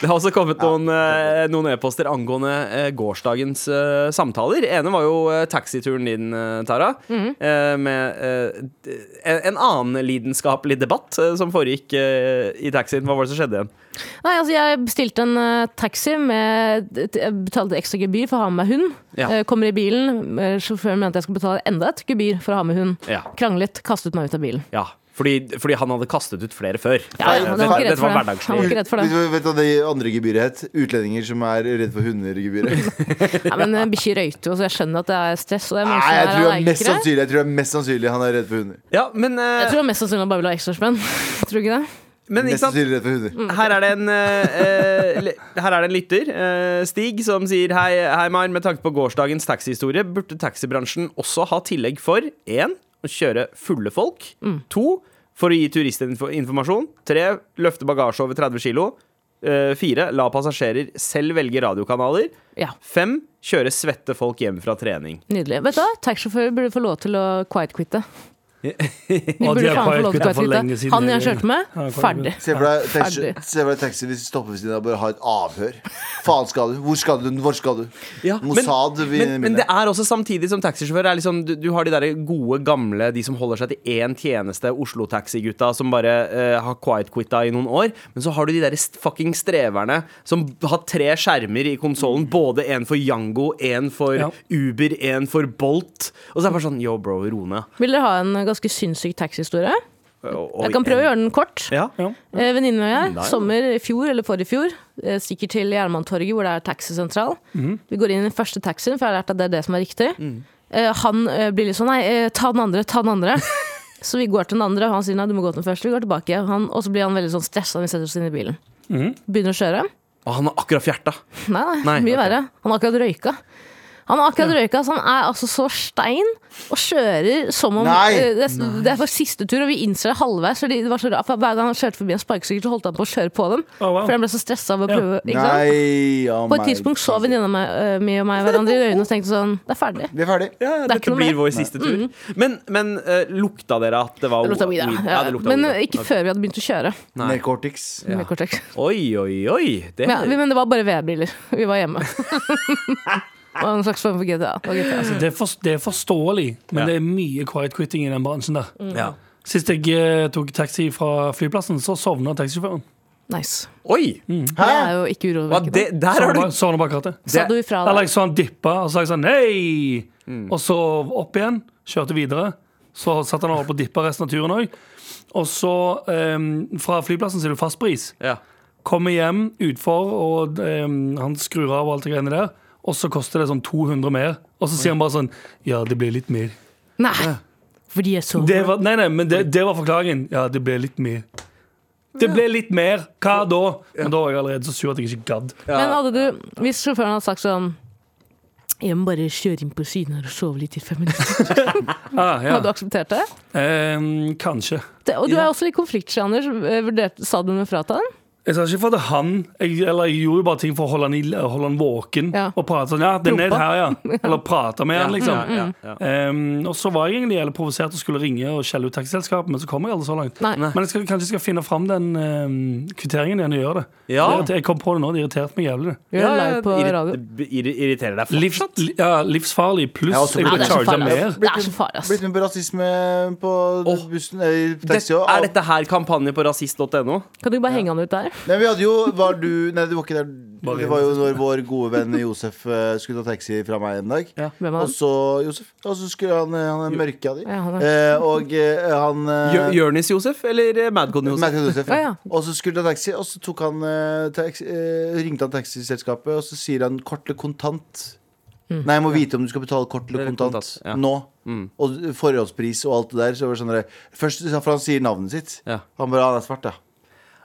S2: Det har også kommet noen, eh, noen e-poster angående eh, gårsdagens eh, samtaler. Ene var jo eh, taxituren din, eh, Tara.
S3: Mhm.
S2: eh, med eh, d- en, en annen lidenskapelig debatt eh, som foregikk eh, i taxien. Hva var det som skjedde igjen?
S3: Nei, altså jeg bestilte en eh, taxi med Jeg betalte ekstra gebyr for å ha med meg hund.
S2: Ja.
S3: Eh, kommer i bilen, eh, sjåføren mente jeg skulle betale enda et gebyr for å ha med hund.
S2: Ja.
S3: Kranglet, kastet meg ut av bilen.
S2: Ja, fordi, fordi han hadde kastet ut flere før.
S3: Ja, ja,
S2: Eh,
S3: han
S2: dette-
S3: var ikke redd
S2: dette var
S3: for det. Han var
S2: hverdagslig.
S3: ikke redd for det.
S5: Vet du- Vet du hva det andre gebyret het? Utlendinger som er redd for hunder-gebyret.
S3: Nei, men eh, bikkjer røyter jo, så jeg skjønner at det er stress. Og det er mange
S5: Nei,
S3: som
S5: jeg tror
S3: er
S5: det er mest
S3: allergikere.
S5: sannsynlig Jeg tror det er mest sannsynlig han er redd for hunder.
S2: Ja, men, eh,
S3: Jeg tror han mest sannsynlig bare vil ha ekstraspenn. Tror du ikke det?
S2: men ikke
S5: Mest
S2: sant?
S5: sannsynlig redd for
S3: Mm.
S5: hunder.
S2: Her er det en, eh, eh, le- her er det en lytter, eh, Stig, som sier Hei, hei Mar, med tanke på gårsdagens taxihistorie burde taxibransjen også ha tillegg for 1. Å kjøre fulle folk 2. For å gi turister info- informasjon 3. Løfte bagasje over 30 kilo 4. La passasjerer selv velge radiokanaler
S3: Ja,
S2: 5. Kjøre svette folk hjem fra trening
S3: nydelig. Vet du hva? Taxisjåfører burde få lov til å quiet-quitte. De
S4: Og de
S3: burde
S4: har
S3: faen få lov til å
S4: quiet-quitta for lenge
S3: quiet-quitte.
S4: siden.
S3: Han jeg kjørte med,
S4: Ja, quiet-quitta.
S3: ferdig.
S5: Se for deg taxi-
S3: Ferdig.
S5: se for deg taxi hvis du stopper ved siden av og bare har et avhør. Faen skal du? Hvor skal du? Hvor skal du?
S2: Ja,
S5: Mossad
S2: men,
S5: vi-
S2: men, men
S5: minner.
S2: det er også samtidig som taxisjåfør er liksom, du, du har de der gode, gamle, de som holder seg til én tjeneste, Oslo-taxigutta som bare eh, har quiet-quitta i noen år. Men så har du de der st- fucking streverne som b- har tre skjermer i konsollen. Både en for Yango, en for
S4: Ja.
S2: Uber, en for Bolt. Og så er det bare sånn yo, bro, ro ned.
S3: Vil dere ha en ganske sinnssyk taxihistorie?
S2: Og- og-
S3: Jeg kan prøve å gjøre den kort.
S2: Ja.
S4: Ja.
S3: Eh, Venninnen min og jeg,
S2: Nei.
S3: sommer i fjor eller forrige fjor, eh, stikker til Jernbanetorget hvor det er taxisentral. Vi går inn i den første taxien, for jeg har lært at det er det som er riktig.
S2: Mm.
S3: Eh, han eh, blir litt sånn nei, eh, ta den andre, ta den andre. så vi går til den andre, og han sier nei, du må gå til den første. Vi går tilbake, han, og så blir han veldig sånn stressa når vi setter oss inn i bilen. Begynner å kjøre.
S2: Og han har akkurat fjerta.
S3: Nei, nei,
S2: Nei,
S3: mye
S2: ok.
S3: verre. Han har akkurat røyka. Han har akkurat røyka, så han er altså så stein og kjører som om
S5: Nei!
S3: eh, det, er- det er faktisk siste tur, og vi innser det halvveis. Fordi det var så rart, for Hver gang han kjørte forbi en sparkesykkel, så holdt han på å kjøre på dem.
S4: Å, Oh, wow.
S3: For han ble så stressa av å
S4: Ja.
S3: prøve. Ikke sant?
S5: Nei, oh
S3: På et
S5: my
S3: tidspunkt så
S5: Jesus.
S3: venninna mi eh, mi og meg hverandre i øynene og tenkte sånn Det er ferdig.
S5: Vi er ferdig.
S3: Det er ikke
S2: Dette
S3: noe
S2: blir
S3: mer.
S2: vår siste tur. Men, men eh, lukta dere at det var
S3: Det lukta weed, ja.
S2: weed?
S3: Ja,
S2: det lukta
S3: Men
S2: weed, ja.
S3: eh, ikke
S2: Ok.
S3: før vi hadde begynt å kjøre.
S2: Nei.
S5: Med Cortex.
S2: Ja.
S3: Med Cortex.
S2: Oi, oi, oi. Det,
S3: Men, ja, vi- men det var bare VR-briller. Vi var hjemme. og en slags form for GTA. Det var GTA.
S4: Altså, det, er for, det er forståelig, men
S2: Ja.
S4: det er mye quiet-quitting i den bransjen der.
S2: ja.
S4: Sist jeg eh, tok taxi fra flyplassen, så sovna taxisjåføren.
S3: Nice.
S2: Oi!
S3: Mm. Det er jo ikke
S2: Ja,
S3: urovekkende.
S2: det, der har
S4: Sovna
S2: du
S4: bak- Sovna bak rattet.
S3: Sa du ifra da?
S4: Eller jeg så han dippa, og så sa jeg sånn hei!
S2: Mm.
S4: Og så opp igjen, kjørte videre. Så satt han og holdt på å dippe resten av turen òg. Og så, eh, fra flyplassen, så er du fast på is.
S2: ja.
S4: Kommer hjem utfor, og ehm, han skrur av og alt det greiene der. Og så koster det sånn 200 mer. Og så sier han bare sånn Ja, det ble litt mer.
S3: Nei, fordi jeg så
S4: Det var, nei, nei, men det, det var forklaringen. Ja, det ble litt mer. Det ble litt mer. Hva da? Men da var jeg allerede så sur at jeg ikke gadd.
S3: Men hadde du, hvis sjåføren hadde sagt sånn Jeg må bare kjøre inn på siden her og sove litt i fem minutter.
S4: Ah, ja.
S3: Hadde du akseptert det?
S4: Ehm, kanskje.
S3: det og du er også litt konfliktsky, Anders. Eh, vurderte- Sa du noe fra til den?
S4: Jeg sa ikke for at det er han jeg, Eller jeg gjorde jo bare ting for å holde han, i, holde han våken
S3: Ja.
S4: Og prate sånn, ja, den er
S3: Prompa.
S4: her, ja Eller prate med han,
S3: Mm,
S4: liksom
S2: Ja, ja, ja.
S4: Ehm, Og så var jeg egentlig jævlig provosert Og skulle ringe og skjelle ut taxiselskapet Men så kom jeg aldri så langt
S3: Nei.
S4: Men jeg skal, kanskje jeg skal finne fram den ehm, kvitteringen igjen og gjøre det
S2: Ja.
S4: Det irriter- Jeg kom på det nå, det irriterte meg jævlig det.
S3: Gjør det live på
S2: irri-
S3: radio.
S2: b- irri- Irriterer deg
S4: Livs, li, ja, livsfarlig
S5: Jeg har
S4: Pluss
S5: også
S4: jeg
S5: blitt-
S4: ble
S3: det er så
S4: charget
S3: farlig.
S4: mer
S3: ass. Det er så farlig, ass.
S5: Blitt med på rasisme på
S2: Åh.
S5: bussen eh, i
S2: Det,
S5: taxi og-
S2: er dette her kampanje på rasist.no?
S3: Kan du ikke bare henge han ut der?
S5: Nei, vi hadde jo Var du Nei, du var ikke der.
S4: Bare
S5: Det var jo når vår gode venn Josef eh, skulle ta taxi fra meg en dag.
S3: Hvem
S5: Og
S3: er han?
S5: så Josef Og så skulle han eh, Han er mørka di.
S3: Ja, han er-
S5: Eh, og eh, han eh,
S2: Jør- Jørnis Josef eller eh, Madcon Josef?
S5: Merket Josef.
S3: Ja, ja.
S5: Og så skulle han ta taxi, og så tok han, eh, taxi, eh, ringte han taxiselskapet, og så sier han kort eller kontant. Nei, jeg må vite om du skal betale kort eller
S2: Eller
S5: kontant,
S2: kontant, ja. Mm.
S5: nå. Og forholdspris og alt det der. Så var det sånn der Først sa- for han sier navnet sitt.
S2: Ja. Ah.
S5: Han bare Han er svart, ja.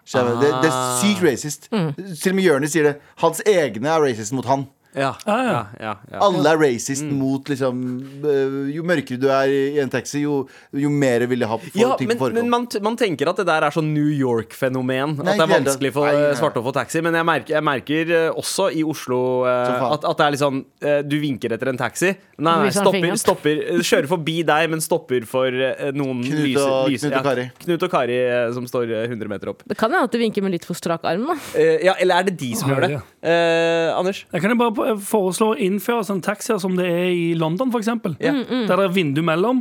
S5: Så jeg bare, Det, det er sykt racist. Til og med Jonis sier det. Hans egne er racist mot han.
S2: Ja.
S4: Ah, ja.
S2: Ja, ja, ja. Mm.
S5: Alle er racist mot liksom eh, Jo mørkere du er i i en taxi, jo, jo mer vil de ha for,
S2: Ja,
S5: ting
S2: men,
S5: på forhånd.
S2: men man, t- man tenker at det der er sånn New York-fenomen.
S5: Nei,
S2: At det er
S5: ikke helt.
S2: vanskelig for
S5: Nei,
S2: eh,
S5: nei.
S2: svarte å få taxi. Men jeg merker, jeg merker eh, også i Oslo eh,
S5: Som faen.
S2: at, at det er litt sånn eh, Du vinker etter en taxi. Nei, nei,
S3: Viser han
S2: stopper,
S3: fingeren.
S2: stopper eh, Kjører forbi deg, men stopper for eh, noen
S5: Knut og-
S2: lyser- lyser-
S5: Knut og Kari.
S2: Ja, Knut og Kari eh, som står eh, 100 meter opp.
S3: Det kan hende at du vinker med litt for strak arm. Da.
S2: Eh, ja, eller er det de som
S4: Å,
S2: gjør det?
S4: herre.
S2: Eh, Anders?
S4: Jeg kan jo bare foreslå å innføre sånne taxier som det er i London, for eksempel.
S2: Ja.
S3: Mm,
S4: Der det er vindu mellom,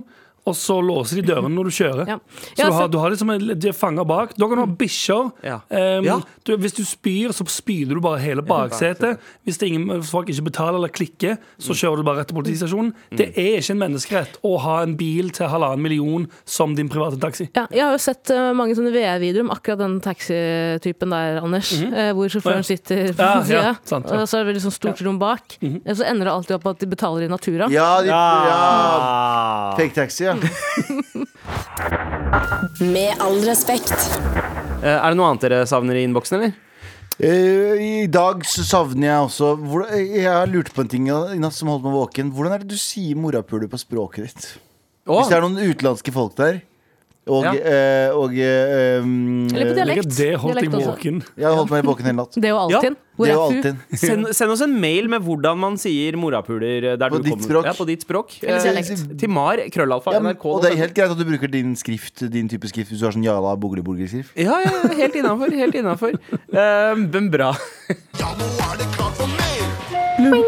S4: og så låser de dørene når du kjører.
S3: Ja.
S4: Så
S3: Ja,
S4: du har,
S3: så-
S4: du har liksom en, de er fanget bak. Da kan du ha bikkjer.
S2: Ja.
S4: Ehm,
S2: Ja.
S4: du, hvis du spyr, så spyler du bare hele baksetet. Hvis det er ingen, hvis folk ikke betaler eller klikker, så kjører du bare rett til politistasjonen. Det er ikke en menneskerett å ha en bil til halvannen million som din private taxi.
S3: Ja, jeg har jo sett eh, mange sånne VR-videoer om akkurat den taxitypen der, Anders. eh, hvor
S4: Å, Mhm. ja.
S3: sjåføren sitter på
S4: Ja, ja,
S3: sida,
S4: sant, ja. Mhm.
S3: og så er det veldig sånn stort rom bak. Eh, Så ender det alltid opp at de betaler i natura.
S5: Ja, de, ja.
S2: Ah.
S5: Fake taxi, ja.
S1: Med all respekt.
S2: Eh, er det noe annet dere savner i innboksen, eller?
S5: Eh, I dag så savner jeg også hvordan, Jeg har lurt på en ting i natt som holdt meg våken. Hvordan er det du sier morapuler på språket ditt?
S2: Å,
S5: Hvis det er noen utenlandske folk der, og,
S2: Ja.
S5: eh, og eh, um,
S3: Eller på
S5: eh,
S3: dialekt.
S4: Det holdt jeg
S3: Dialekt også.
S4: våken.
S5: Jeg har holdt meg våken hele natt.
S3: Det er jo
S2: Ja,
S3: Altinn. Hvor
S5: Det er jo
S3: er fu?
S5: alltid
S2: send, send oss en mail med hvordan man sier morapuler eh, der
S5: På
S2: du
S5: ditt
S2: kommer-
S5: språk.
S2: Ja, på ditt språk.
S3: Eller
S2: Eh,
S3: dialekt.
S2: Til mar, krøllalfa,
S5: ja, men,
S2: nrk. altså.
S5: Og det er helt greit at du bruker din skrift Din type skrift hvis du har sånn jala bogleborgerskrift.
S2: Ja, ja, ja, helt innafor. Helt innafor. Eh, men bra.
S6: Ja, nå er det klart for mer!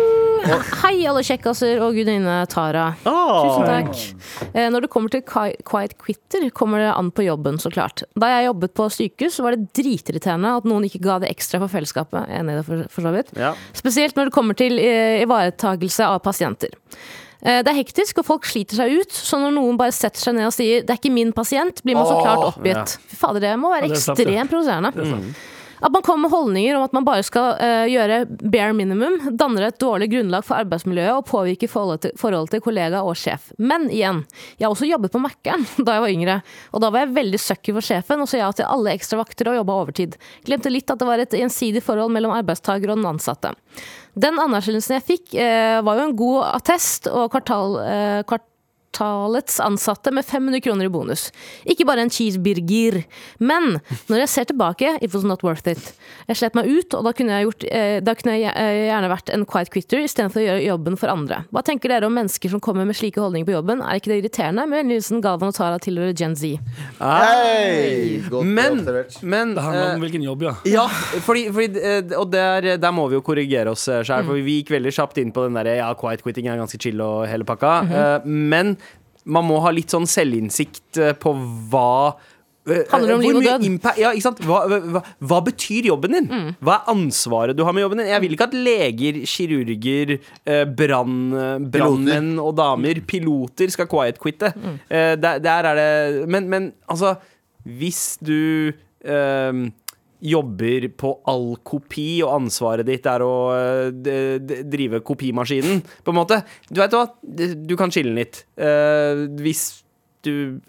S3: Hei, alle kjekkaser og gudinne Tara.
S5: Ah!
S3: Tusen takk. Eh, Når det kommer til qui- Quiet Quitter, kommer det an på jobben, så klart. Da jeg jobbet på sykehus, var det dritirriterende at noen ikke ga det ekstra for fellesskapet. Jeg er Enig i det, for, for så vidt.
S2: Ja.
S3: Spesielt når det kommer til eh, ivaretakelse av pasienter. Eh, Det er hektisk, og folk sliter seg ut, så når noen bare setter seg ned og sier 'det er ikke min pasient', blir man så klart
S2: Åh,
S3: oppgitt. Fy fader, det må være
S4: det er sant, det.
S3: ekstremt provoserende. At man kommer med holdninger om at man bare skal eh, gjøre bare minimum, danner et dårlig grunnlag for arbeidsmiljøet og påvirker forholdet til, forholdet til kollega og sjef. Men igjen, jeg har også jobbet på Mækkern da jeg var yngre, og da var jeg veldig søkker for sjefen og sa ja til alle ekstra vakter og jobba overtid. Glemte litt at det var et gjensidig forhold mellom arbeidstaker og den ansatte. Den anerkjennelsen jeg fikk, eh, var jo en god attest og kvartal... eh, kvart talets ansatte med 500 kroner i bonus. Ikke bare en cheeseburger. Men når jeg ser tilbake, it was not worth it. Jeg slet meg ut, og da kunne jeg, gjort, eh, da kunne jeg eh, gjerne vært en quiet quitter istedenfor å gjøre jobben for andre. Hva tenker dere om mennesker som kommer med slike holdninger på jobben? Er ikke det irriterende? Med vennlig hilsen Galvan og Tara tilhører Gen Z.
S5: Hei! Godt
S2: Men,
S5: observert.
S2: men
S4: Det handler
S2: eh,
S4: om hvilken jobb, ja.
S2: Ja, fordi, fordi, eh, og der, der må vi jo korrigere oss
S5: Mm.
S2: sjøl, for vi gikk veldig kjapt inn på den derre ja, quiet quitting er ganske chill og hele pakka,
S5: Mhm.
S2: Eh, men man må ha litt sånn selvinnsikt eh, på hva eh,
S3: Handler det om
S2: hvor
S3: liv og
S2: mye
S3: død?
S2: impa- ja, ikke sant? Hva, hva, hva betyr jobben din? Hva er ansvaret du har med jobben din? Jeg vil ikke at leger, kirurger, eh, brann- brannmenn og -damer, piloter, skal quiet-quitte. Eh, Der, der er det Men, men altså, hvis du ehm, jobber på all kopi, og ansvaret ditt er å eh, d- d- drive kopimaskinen, på en måte. Du vet hva, du kan chille litt. Eh, hvis du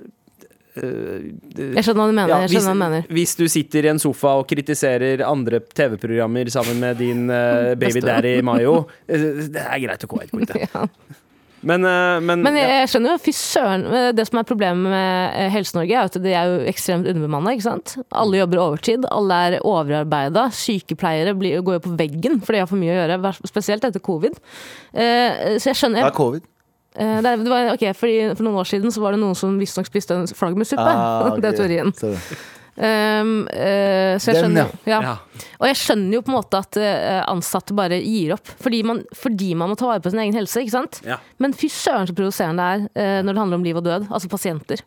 S3: Jeg skjønner hva du mener.
S2: Ja,
S3: jeg
S2: hvis,
S3: skjønner hva du mener.
S2: hvis du sitter i en sofa og kritiserer andre TV-programmer sammen med din eh, baby
S3: Beste.
S2: daddy Mayo, eh, det er greit å gå helt ut. det.
S3: Ja.
S2: Men, eh, men,
S3: Men jeg,
S2: ja.
S3: jeg skjønner jo, fy søren. men Det som er problemet med eh, Helse-Norge, er jo at de er jo ekstremt underbemanna. ikke sant?
S5: Mm.
S3: Alle jobber overtid, alle er overarbeida. Sykepleiere blir, går jo på veggen fordi de har for mye å gjøre, hver- spesielt etter covid. Eh, Så jeg
S5: Det
S3: skjønner
S5: er covid.
S3: eh, det, er- det var, ok, fordi For noen år siden så var det noen som visstnok spiste en flaggermussuppe.
S5: Ah,
S3: Det er
S5: ok.
S3: teorien.
S5: Så-
S3: Um, eh, så jeg
S5: Den,
S3: skjønner, ja.
S2: Ja.
S3: Og jeg skjønner jo på en måte at eh, ansatte bare gir opp, fordi man, fordi man må ta vare på sin egen helse. ikke sant?
S2: Ja.
S3: Men fy søren så provoserende det er eh, når det handler om liv og død. Altså pasienter.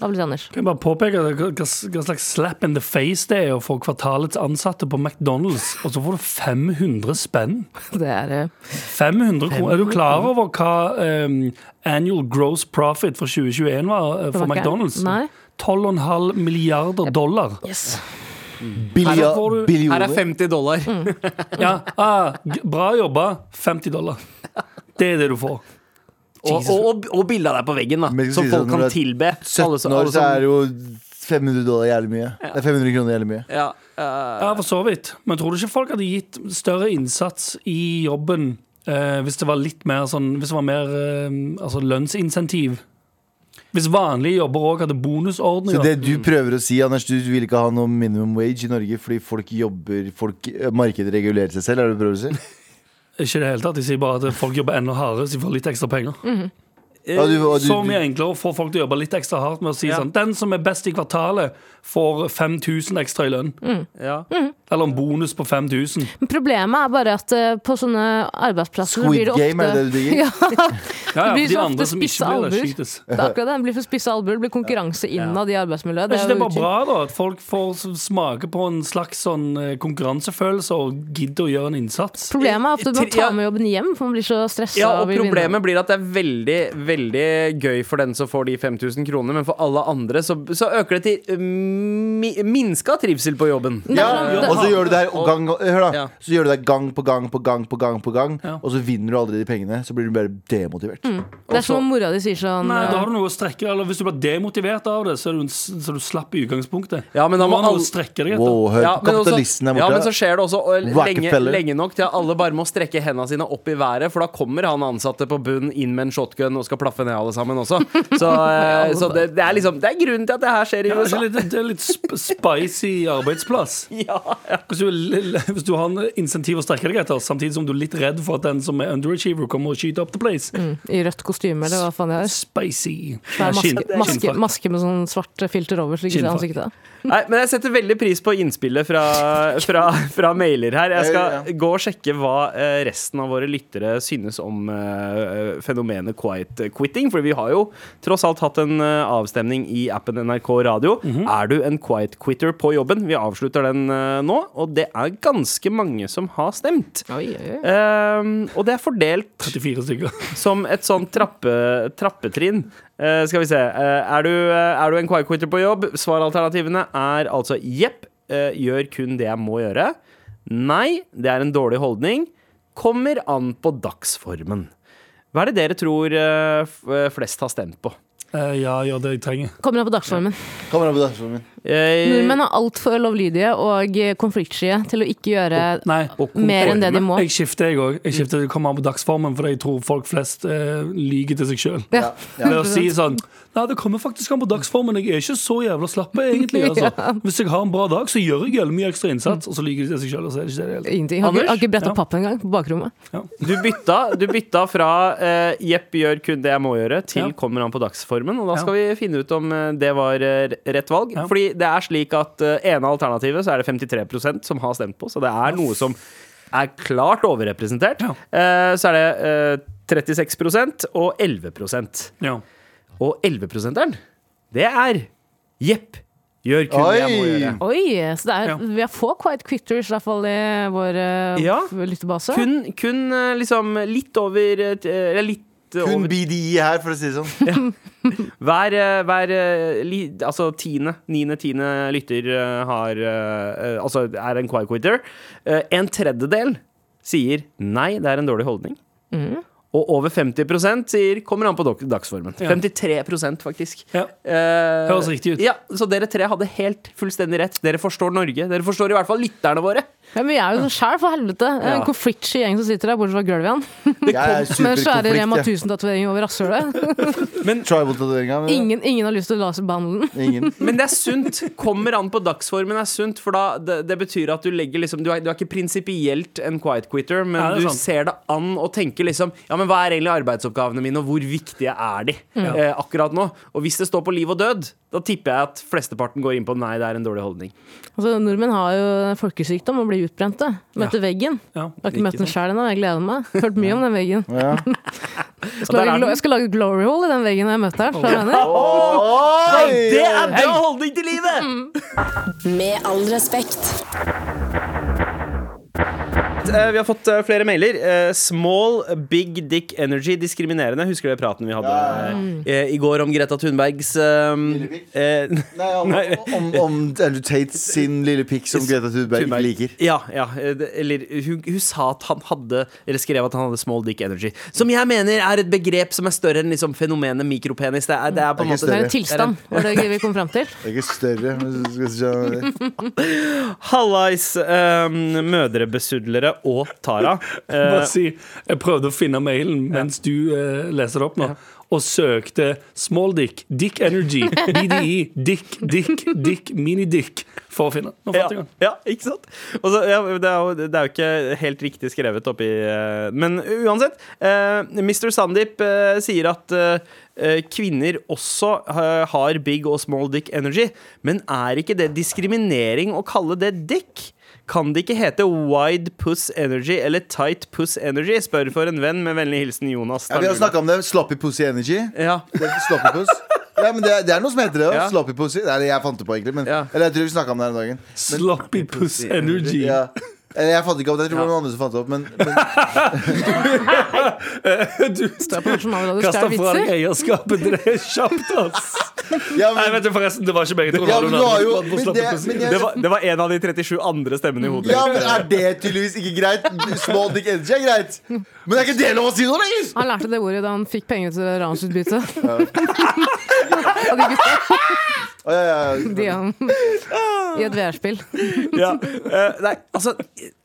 S3: Hva blir det, Anders?
S4: Kan jeg bare påpeke hva, hva hva slags slap in the face det er å få kvartalets ansatte på McDonald's, og så får du 500 spenn?
S3: Det er, eh,
S4: 500 kroner. Er du klar over hva eh, annual gross profit for 2021 var eh,
S3: Det
S4: for
S3: var ikke-
S4: McDonald's?
S3: Nei.
S4: 12,5 milliarder dollar.
S5: Billia-
S4: får du-
S2: Her er
S5: Billioner.
S2: 50 dollar.
S3: Mm.
S4: Ja, ah, g- bra jobba. 50 dollar. Det er det du får.
S2: Og, og, og, og bilde av deg på veggen, da,
S5: Men jeg
S2: som
S5: skal si
S2: folk
S5: sånn,
S2: kan
S5: når du er
S2: tilbe. Alle
S5: 17
S2: som-
S5: år,
S2: alle
S5: så
S2: som-
S5: er jo 500 dollar jævlig mye. Det er 500 kroner jævlig mye.
S2: ja, eh,
S4: Ja, for så vidt. Men tror du ikke folk hadde gitt større innsats i jobben eh, hvis det var litt mer sånn Hvis det var mer eh, altså lønnsinsentiv? Hvis vanlige jobber òg hadde
S5: Så
S4: bonusordninger?
S5: det du prøver å si, Anders, du vil ikke ha noe minimum wage i Norge fordi folk jobber folk, eh, Markedet regulerer seg selv, er det du prøver å si?
S4: Ikke i det hele tatt. De sier bare at folk jobber enda hardere, så de får litt ekstra penger.
S3: Mhm.
S5: Ja, du, og du,
S4: Så mye
S5: du,
S4: enklere å få folk til å jobbe litt ekstra hardt med å si
S2: Ja.
S4: sånn Den som er best i kvartalet, får 5000 ekstra i lønn.
S2: ja.
S4: Eller en bonus på 5000.
S3: Mm. Men Problemet er bare at eh, på sånne arbeidsplasser så blir
S5: Squid
S3: det
S5: Game, er det
S3: ofte
S5: det du digger?
S4: Ja, ja,
S3: Det blir så
S4: for de
S3: ofte
S4: andre som
S3: spisse
S4: ikke blir det,
S3: albuer.
S4: skytes.
S3: det er akkurat det. Det blir for spisse albuer, det blir konkurranse innad i arbeidsmiljøet.
S4: Er ikke det
S3: jo
S4: bare bra, da? At folk får s- smake på en slags sånn eh, konkurransefølelse og gidder å gjøre en innsats?
S3: Problemet er ofte at man
S2: Ja.
S3: tar med jobben hjem, for man blir så stressa.
S2: Ja, og problemet blir at det er veldig, veldig gøy for den som får de 5000 kronene, men for alle andre så, så øker det til eh, mi, minska trivsel på jobben.
S5: Ja,
S3: det-
S5: og så gjør du det her gang, hør da,
S2: Ja.
S5: så gjør du det her gang på gang på gang på gang, på gang og så vinner du aldri de pengene. Så blir du bare demotivert.
S3: Det er som om mora di sier sånn
S4: Nei, da har du noe å strekke Eller Hvis du blir demotivert av det, så er du, en s- så er du slapp i utgangspunktet.
S2: Ja, men da
S4: Nå
S2: må
S4: har du noe
S2: alle-
S4: å strekke deg etter.
S5: Wow, hør,
S2: Ja, men også-
S5: kapitalisten er
S2: Ja, men
S5: borte.
S2: så skjer det også og lenge,
S5: Rockefeller.
S2: lenge nok til at alle bare må strekke hendene sine opp i været, for da kommer han ansatte på bunn inn med en shotgun og skal plaffe ned alle sammen også. Så, eh, så det, det er liksom Det er grunnen til at det her skjer i
S4: Ja, det
S2: USA.
S4: er litt, det er litt sp spicy arbeidsplass. Hvis, du, er lill- hvis du har en insentiv å strekke deg etter, samtidig som du er litt redd for at den som er underachiever, kommer og skyter up the place.
S3: I rødt kostyme, eller hva faen det er.
S4: Spicy.
S3: Det er
S4: Skinn-
S3: maske, maske,
S4: skinnfrakk.
S3: maske med sånn svart filter over, så det ikke ser
S4: Skinnfrakk.
S3: ansiktet.
S2: Nei, men jeg setter veldig pris på innspillet fra, fra, fra mailer her. Jeg
S5: Ja,
S2: skal
S5: ja.
S2: gå og sjekke hva eh, resten av våre lyttere synes om eh, fenomenet quiet quitting. For vi har jo tross alt hatt en eh, avstemning i appen NRK Radio.
S5: Mhm.
S2: Er du en quiet quitter på jobben? Vi avslutter den eh, nå, og det er ganske mange som har stemt.
S3: Oi, oi, oi.
S2: Ehm, og det er fordelt
S4: 34 stykker.
S2: som et sånn trappe, trappetrinn. Eh, skal vi se. Eh, er, du, eh, er du en quiet quitter på jobb? Svaralternativene er altså jepp, eh, gjør kun det jeg må gjøre. Nei, det er en dårlig holdning. Kommer an på dagsformen. Hva er det dere tror eh, f- eh, flest har stemt på?
S4: Eh, ja, gjør det jeg trenger.
S3: Kommer an på dagsformen.
S5: Kommer an på dagsformen min.
S2: Eh,
S3: Nordmenn er altfor lovlydige og konfliktsky til å ikke gjøre
S4: Nei.
S3: mer enn det de må. Mm.
S4: Jeg skifter, jeg òg. Jeg skifter, det kommer an på dagsformen, for jeg tror folk flest eh, lyver til seg sjøl.
S3: Ja.
S4: Ved å si sånn Nei, det kommer faktisk an på dagsformen. Jeg er ikke så jævla slapp, egentlig. Altså. Hvis jeg har en bra dag, så gjør jeg jævlig mye ekstra innsats, og så lyver de til seg sjøl, og så er det ikke det i det hele tatt.
S3: Ingenting. Har ikke, har ikke bretta
S4: Ja.
S3: papp engang på bakrommet.
S2: du, bytta, du bytta fra eh, 'jepp, gjør kun det jeg må gjøre' til
S4: Ja.
S2: 'kommer an på dagsformen'. Og da skal vi finne ut om eh, det var eh, rett valg.
S4: Ja.
S2: Fordi det er slik at eh, ene alternativet så er det 53 som har stemt på, så det er noe som er klart overrepresentert.
S4: Ja.
S2: Eh, så er det eh, 36 og 11
S4: Ja.
S2: Og 11-prosenteren, det er 'jepp, gjør kun det jeg må
S5: Oi.
S2: gjøre'.
S3: Oi, så det er,
S4: Ja.
S3: vi har få quiet quitters, i hvert fall i vår eh,
S2: Ja.
S3: lyttebase.
S2: Kun, kun eh, liksom litt over eh, t- Eller litt eh,
S5: Kun
S2: over
S5: BDI her, for å si det sånn.
S2: Hver, eh, hver eh, li, altså tiende, niende, tiende lytter eh, har, eh, eh, altså er en
S4: Mm.
S2: quiet quitter. Eh, En tredjedel sier nei, det er en dårlig holdning. Og over 50 sier 'kommer an på dok- dagsformen'.
S4: Ja.
S2: 53 faktisk.
S4: Ja.
S2: Eh,
S4: Høres riktig ut.
S2: Ja, Så dere tre hadde helt fullstendig rett. Dere forstår Norge. Dere forstår i hvert fall lytterne våre.
S3: Men vi er jo så sjæl, for helvete. Det er
S2: Ja.
S3: En konfliktsky gjeng som sitter der, bortsett fra gulvet igjen.
S5: Jeg er
S3: Med den svære Rema
S5: superkonflikt.
S3: 1000-tatovering over rasshølet.
S5: Tribal-tatoveringa.
S3: Ingen, ingen har lyst til å laserbehandle den.
S5: Ingen.
S2: Men det er sunt. Kommer an på dagsformen er sunt, for da det, det betyr at du legger liksom Du er, du er ikke prinsipielt en quiet quitter, men
S4: Nei, det er
S2: du
S4: sant.
S2: ser det an og tenker liksom Ja, men hva er egentlig arbeidsoppgavene mine, og hvor viktige er de
S5: Mm.
S2: eh, akkurat nå? Og hvis det står på liv og død, da tipper jeg at flesteparten går inn på nei, det er en dårlig holdning.
S3: Altså, nordmenn har jo en folkesykdom og blir utbrente. Møter veggen.
S4: Ja.
S3: Jeg har ikke møtt den sjæl ennå, jeg gleder meg. Hørt mye om den veggen.
S5: Ja.
S3: Jeg skal,
S2: der er
S3: lage,
S2: den.
S3: jeg skal lage et glory hole i den veggen når jeg møter den. skjønner du hva jeg mener?
S2: Nei, det er bra holdning til livet!
S5: Mm.
S1: Med all respekt.
S2: Eh, Vi har fått eh, flere mailer. Eh, Small Big Dick Energy diskriminerende. Husker dere praten vi hadde eh, i går om Greta Thunbergs
S5: Lille
S2: eh,
S5: pikk?
S2: eh,
S5: Nei, om, om, om Andrew Tate sin lille pikk som Greta Thunberg ikke liker.
S2: Ja, ja eh, det- eller hun, hun sa at han hadde Eller skrev at han hadde small dick energy. Som jeg mener er et begrep som er større enn liksom fenomenet mikropenis. Det er, det er på en
S5: Det er ikke
S2: måte
S3: Det er en tilstand, var det vi kom fram til.
S5: Det er ikke større, men du skal skjønne det.
S2: Hallais, eh, mødrebesudlere og Tara. Eh,
S4: Bare si, jeg prøvde å finne mailen mens du eh, leser det opp nå. Og søkte Small Dick, Dick Energy, BDI, Dick, Dick, Dick, Mini-Dick. For å finne. Nå fant jeg
S2: ja,
S4: den.
S2: ja, ikke sant? Og så, ja, det, er jo, det er jo ikke helt riktig skrevet oppi eh, Men uansett. eh, Mr. Sandeep eh, sier at eh, eh, kvinner også eh, har big og small dick energy. Men er ikke det diskriminering å kalle det dick? Kan det ikke hete wide puss energy eller tight puss energy? Spør for en venn med vennlig hilsen Jonas.
S5: Ja, vi har snakka om det. Sloppy pussy energy.
S2: Ja.
S5: Det er sloppy puss. Ja, men det er, det er noe som heter det.
S2: Ja.
S5: Ja. Sloppy pussy. Det er det jeg fant det på, egentlig. Men,
S2: Ja.
S5: Eller jeg tror vi snakka om det her om dagen.
S4: Sloppy Puss Energy.
S5: Ja. Eller jeg fant ikke opp det. Jeg tror det var noen andre som fant det opp. Men, men
S4: Du
S3: Står jeg på Nasjonalrådet og
S4: kasta
S3: stjal
S4: fra deg
S3: vitser?
S4: eierskapet. Det er kjapt, ass.
S5: ja,
S4: Nei,
S5: men,
S4: vet du, forresten, det var ikke begge to.
S5: Ja, men du har jo-
S4: Ronaldo
S5: men
S4: slapp
S5: det-
S4: å si
S5: men
S4: det.
S5: jeg-
S2: Det var, det var en av de 37 andre stemmene i hodet.
S5: ja, men er det tydeligvis ikke greit? Small dick energy er greit. Men det er ikke det lov å si noe lenger!
S3: Han lærte det ordet da han fikk penger til ransutbytte. Og de gutta,
S5: Å, ja, ja,
S3: de
S5: ja.
S3: han i et VR-spill.
S2: ja. eh, nei, altså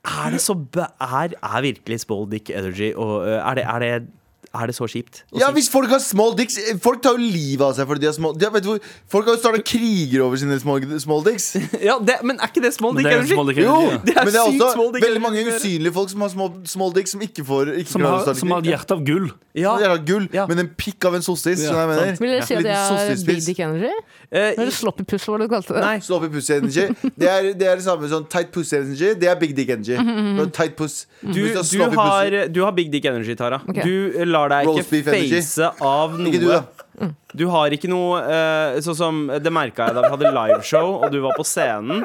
S2: Er det så bæ... Er, er virkelig Small Dick Energy og, eh, er, det, er, det, er det så kjipt? å
S5: Ja,
S2: si?
S5: hvis folk har small dicks eh, Folk tar jo livet av seg fordi de har small de, har- vet du, hvor- Folk har jo starta kriger over sine small, small dicks.
S2: ja, det, men er ikke det Small
S4: Men
S2: Dick
S4: det er
S2: Energy?
S4: Small Dick Energy,
S5: Jo,
S4: ja.
S2: Det er
S5: men det er
S2: sykt
S5: også
S2: small dick
S5: veldig mange
S2: energy.
S5: usynlige folk som har small, small dick, som ikke får ikke
S4: Som
S5: klarer å
S4: har,
S5: starte
S4: som har et
S5: krig.
S4: hjerte av gull.
S5: Som
S2: Ja.
S5: har gull,
S2: Ja.
S5: men en pikk av en sossis.
S4: Ja,
S5: skjønner du hva jeg
S3: Vil
S5: mener.
S3: dere si at
S5: Liten
S3: jeg er
S5: sossespiss.
S3: big dick energy?
S2: eh,
S3: Eller sloppy puss, var det du kalte det?
S2: Nei.
S5: Slå opp i pussy energy. Det er det, er det samme sånn tight pussy energy. Det er big dick energy. Når Tight puss.
S2: du,
S5: Hvis
S2: du,
S5: slå opp i pussy-
S2: har, eh, du har Big Dick Energy, Tara.
S3: Ok.
S2: Du lar deg
S5: Roast beef
S2: ikke
S5: energy.
S2: face av noe.
S5: Ikke du, da.
S2: Du har ikke noe eh, Sånn som det merka jeg da vi hadde liveshow, og du var på scenen.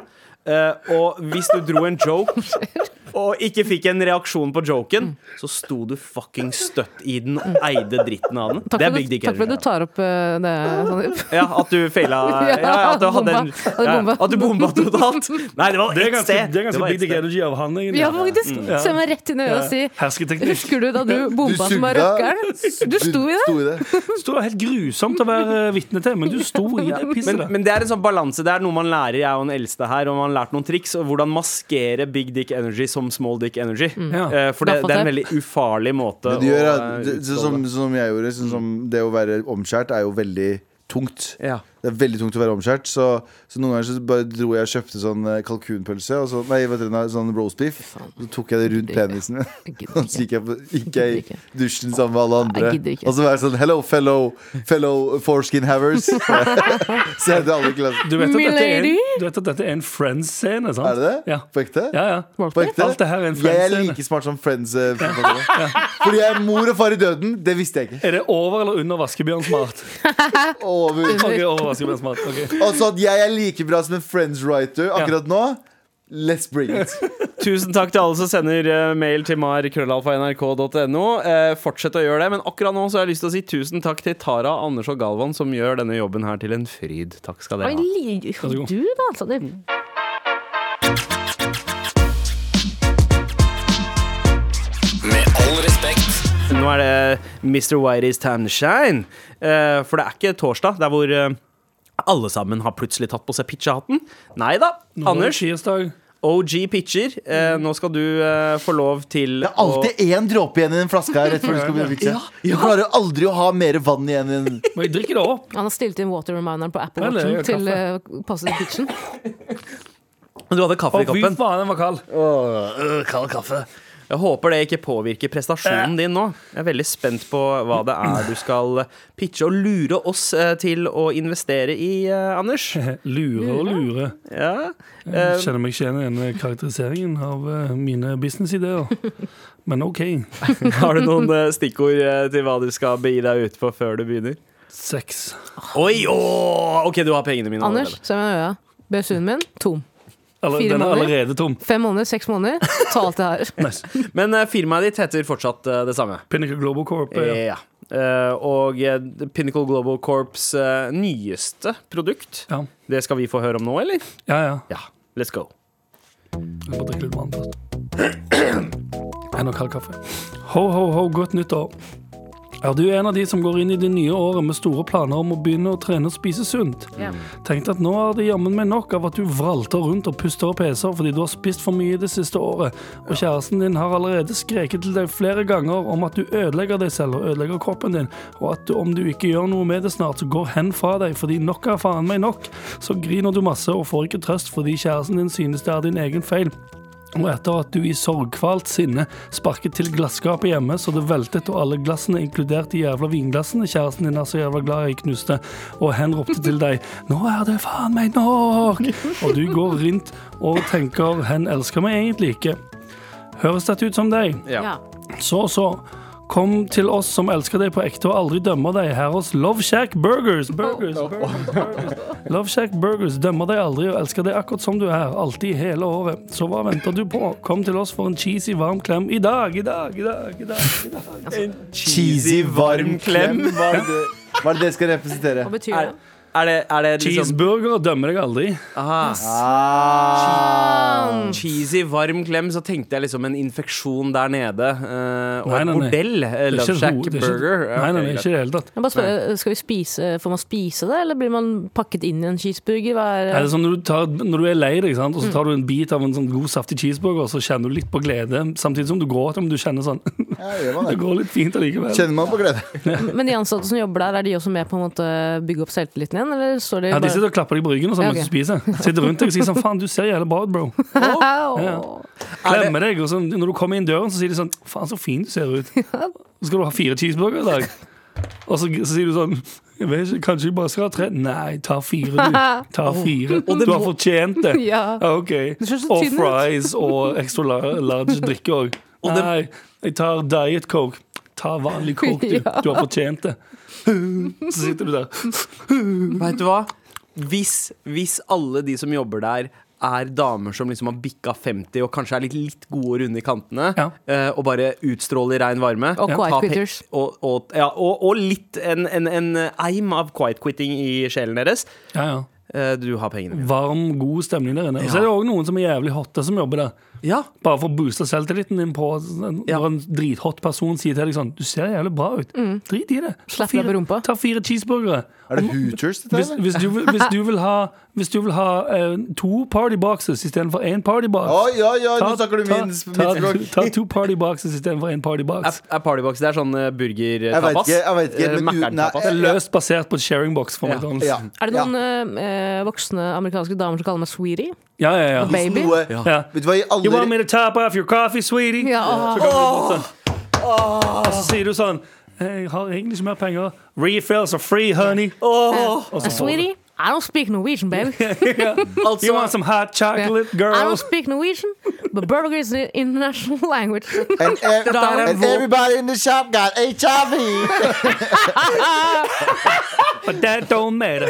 S2: Eh, og hvis du dro en joke og ikke fikk en reaksjon på joken, så sto du fucking støtt i den og eide dritten av den.
S3: Takk
S2: det
S3: for
S2: er big
S3: at du-
S2: dick
S3: takk for at du
S2: energy.
S3: tar opp eh, det, Sandeep.
S2: Ja, at du feila ja, ja, at, du hadde en-
S3: Bomba. At du
S2: ja,
S3: bomba.
S2: at du bomba totalt. Nei, det var
S4: Det er
S2: ett
S4: ganske,
S2: sted.
S4: det er ganske
S2: var ett
S4: big dick
S2: sted.
S4: energy av han, egentlig.
S3: Ja, faktisk. Se meg rett inn i øyet og si
S4: Hersketeknikk.
S3: Husker du da du bomba som var rockeren? Du sto i det?
S5: sto i det.
S4: Det var helt grusomt å være eh, vitne til, men du sto i det pisset
S2: Men,
S4: der.
S2: men det er en sånn balanse. Det er noe man lærer. Jeg er jo den eldste her, og man har lært noen triks. Og hvordan maskere big dick energy som small dick energy.
S4: Ja.
S2: Eh, For det,
S3: Gaffateip.
S2: det er en veldig ufarlig måte
S5: Men det gjør,
S2: eh,
S5: at- det-
S2: utstråle.
S5: sånn som, som jeg gjorde, sånn som det å være omskjært er jo veldig tungt.
S2: Ja.
S5: Det er veldig tungt å være omskjært, så, så noen ganger så bare dro jeg og kjøpte sånn eh, kalkunpølse, og så, nei, vet dere, sånn roast beef. Så tok jeg det rundt penisen min.
S3: Jeg gidder
S5: Og så
S3: ikke.
S5: gikk jeg, på- gikk jeg
S3: Gidder ikke.
S5: i dusjen sammen med alle andre.
S3: Jeg gidder ikke.
S5: Og så var jeg sånn Hello, fellow, fellow foreskin havers. så jeg til alle i klassen.
S4: Du vet, at dette er,
S3: Milady?
S4: du vet at dette er en Friends-scene, sant?
S5: Er det det?
S4: Ja.
S5: På ekte?
S4: Ja, ja.
S5: På ekte?
S4: Alt det her er en
S5: jeg er
S4: Friends-scene.
S5: like smart som Friends. eh, Fordi jeg er mor og far i døden. Det visste jeg ikke.
S4: Er det over eller under Vaskebjørn Smart?
S5: Over.
S4: Ok, over Vaskebjørn Smart. ok.
S5: Altså at jeg er like bra som en Friends-writer akkurat nå. Let's bring it.
S2: Tusen takk til alle som sender eh, mail til mar.krøllalfa.nrk.no. Eh, fortsett å gjøre det, men akkurat nå så har jeg lyst til å si tusen takk til Tara, Anders og Galvan, som gjør denne jobben her til en fryd. Takk skal
S3: Oi,
S2: dere ha.
S3: liker
S4: Vær så god.
S3: du da, altså? Sandeep?
S7: Med all respekt.
S2: Nå er det Mr. Whitey's Tanshine. Eh, for det er ikke torsdag, det er hvor eh, alle sammen har plutselig tatt på seg pitcha-hatten. Nei da, Anders.
S4: Tirsdag.
S2: OG pitcher. Eh, nå skal du eh, få lov til
S5: Det er alltid én dråpe igjen i den flaska her rett før du skal begynne å fikse. Du klarer jo aldri å ha mer vann igjen. i den-
S4: Men jeg drikker det opp.
S3: Han har stilt inn water reminderen på Apple
S4: Vel, det
S3: Watchen
S4: gjør
S3: til uh, Positive Kitchen.
S2: å Du hadde
S4: Å,
S2: kaffe i
S4: fy
S2: koppen.
S4: faen, den var kald.
S2: Jeg håper det ikke påvirker prestasjonen din nå. Jeg er veldig spent på hva det er du skal eh, pitche og lure oss eh, til å investere i, eh, Anders.
S4: Lure og lure.
S2: Ja.
S3: Eh,
S4: Jeg kjenner meg ikke igjen i den karakteriseringen av eh, mine businessideer. Men OK.
S2: Har du noen eh, stikkord eh, til hva du skal begi deg ut på før du begynner?
S4: Sex.
S2: Oi, åh! Ok, du har pengene mine
S3: Anders, se meg i øya. BSU-en min, tom.
S4: Eller,
S3: Fire
S4: den er
S3: måneder.
S4: allerede tom.
S3: Fem måneder, seks måneder, ta alt det her.
S4: Nice.
S2: allerede. Men eh, firmaet ditt heter fortsatt eh, det samme.
S4: Pinnacle Global Corp. eh,
S2: Ja. Eh, og eh, Pinnacle Global Corps eh, nyeste produkt,
S4: Ja,
S2: det skal vi få høre om nå, eller?
S4: ja. ja.
S2: Ja, let's go.
S4: Jeg må drikke litt vann først. Enda kald kaffe. Ho, ho, ho, godt nyttår. Er du en av de som går inn i det nye året med store planer om å begynne å trene og spise sunt?
S3: Ja.
S4: Tenkte at nå er det jammen meg nok av at du vralter rundt og puster og peser fordi du har spist for mye det siste året, og kjæresten din har allerede skreket til deg flere ganger om at du ødelegger deg selv og ødelegger kroppen din, og at du, om du ikke gjør noe med det snart, så går hen fra deg fordi nok er faen meg nok. Så griner du masse og får ikke trøst fordi kjæresten din synes det er din egen feil. Og etter at du i sorgkvalt sinne sparket til glasskapet hjemme så det veltet, og alle glassene, inkludert de jævla vinglassene kjæresten din er så jævla glad i, knuste, og hen ropte til deg 'Nå er det faen meg nok!' Og du går rundt og tenker 'Hen elsker meg egentlig ikke'. Høres dette ut som deg?
S3: Ja.
S4: Så, så. Kom til oss som elsker deg på ekte og aldri dømmer deg, her hos Love Shack Burgers. Burgers, burgers, burgers. Love Shack Burgers dømmer deg aldri og elsker deg akkurat som du er, alltid hele året. Så hva venter du på? Kom til oss for en cheesy, varm klem i dag, i dag, i dag. i dag, i
S2: Liksom-
S4: dag.
S5: Cheesy, varm klem. Hva er det hva er det det skal representere?
S3: Hva betyr
S2: Er,
S3: det?
S2: er det, er det liksom
S4: Cheeseburger dømmer deg aldri.
S2: Aha.
S5: Ah.
S3: sånn-
S2: Cheesy, varm klem, så tenkte jeg liksom en infeksjon der nede. eh, og
S4: Nei,
S2: et
S4: nei, nei.
S2: bordell. eh,
S4: Det er ikke
S2: Love
S4: et
S2: Shack
S4: ho- det er ikke-
S2: Burger. Ja,
S4: Nei, nei,
S2: ok,
S4: nei,
S2: greit.
S4: ikke i det hele tatt.
S3: Jeg bare spør, eh, skal vi spise, Får man spise det, eller blir man pakket inn i en cheeseburger? Hva er,
S4: Er det sånn når du, tar, når du er lei deg, ikke sant? og
S2: Mm.
S4: så tar du en bit av en sånn god, saftig cheeseburger, og så kjenner du litt på glede, samtidig som du gråter, men du kjenner sånn
S5: Ja, gjør man
S4: Det
S5: det.
S4: går litt fint allikevel.
S5: Kjenner man på glede?
S3: Men de ansatte som jobber der, er de også med på en måte å bygge opp selvtilliten igjen? Eller står de
S4: Ja,
S3: bare
S4: De sitter og klapper deg på ryggen og sånn
S3: Ja,
S4: mens
S3: ok.
S4: du spiser. Sitter rundt deg og sier sånn Faen, du ser jævlig bra ut, bro.
S3: Au!
S4: Klemmer deg. Og sånn, når du kommer inn døren, så sier de sånn Faen, så fin du ser ut. Så skal du ha fire cheeseburgere i dag. Og så, så sier du sånn jeg vet ikke, Kanskje jeg bare skal ha tre? Nei, ta fire, du. Ta fire. Du har fortjent det.
S3: Ja.
S4: Ja, OK.
S3: ser så
S4: Og
S3: tynn ut.
S4: fries og extra la- large drikke òg.
S2: det-
S4: Nei, jeg tar diet coke. Ta vanlig coke, du.
S3: Ja.
S4: Du har fortjent det. Så sitter du der.
S2: Vet du hva? Hvis, hvis alle de som jobber der er damer som liksom har bikka 50 og kanskje er litt, litt gode og runde i kantene,
S4: Ja.
S2: eh, og bare utstråler rein varme
S3: Og
S2: ta
S3: quiet
S2: pe-
S3: quitters.
S2: Og, og, ja, og, og litt en, en, en eim av quiet quitting i sjelen deres.
S4: Ja, ja.
S2: Eh, du har pengene mine.
S4: varm, god stemning der inne. Og så er det òg noen som er jævlig hotte som jobber der.
S2: Ja.
S4: Bare for å booste selvtilliten din på når
S2: Ja.
S4: en drithot person sier til deg sånn Du ser jævlig bra ut. Drit i det. Ta
S3: Slapp Mm. deg på
S4: fire-
S3: rumpa.
S4: Ta fire cheeseburgere.
S5: Er det Hooters, dette?
S4: Hvis,
S5: her, eller?
S4: hvis, du, vil- hvis du vil ha, hvis du vil ha eh, to party boxes istedenfor én party box
S5: Oi, oi, oi, nå
S4: Ta-
S5: snakker du
S4: ta-
S5: min mitt
S4: ta,
S5: språk.
S4: ta to party boxes istedenfor én party
S2: Er,
S4: box.
S2: er partybox det er sånn eh,
S5: Jeg vet
S2: burger-tapas?
S5: ikke, jeg vet ikke,
S2: Eh,
S5: men u-
S2: Mækkern-tapas?
S5: nei,
S4: Løst basert på sharing box for
S2: Ja.
S4: McDonald's.
S5: Ja.
S4: Ja,
S3: Er det noen eh, voksne amerikanske damer som kaller meg sweetie?
S4: ja, ja. ja.
S3: Baby?
S5: Noe-
S4: ja.
S5: Vet du hva, i
S4: You want me
S5: alle
S4: to top off your coffee, sweetie?
S3: Ja, ah.
S4: Så kommer du bort sånn. Og så sier du sånn Jeg har egentlig ikke mer penger. Refills are free, honey. Og så får du.
S3: Sweetie, I don't speak Norwegian, baby.
S4: You want some hot chocolate,
S3: I don't
S4: girls?
S3: speak Norwegian, but burger is an international language.
S5: and, ev-
S2: er en
S5: and everybody in the shop got HIV!
S4: But that don't matter.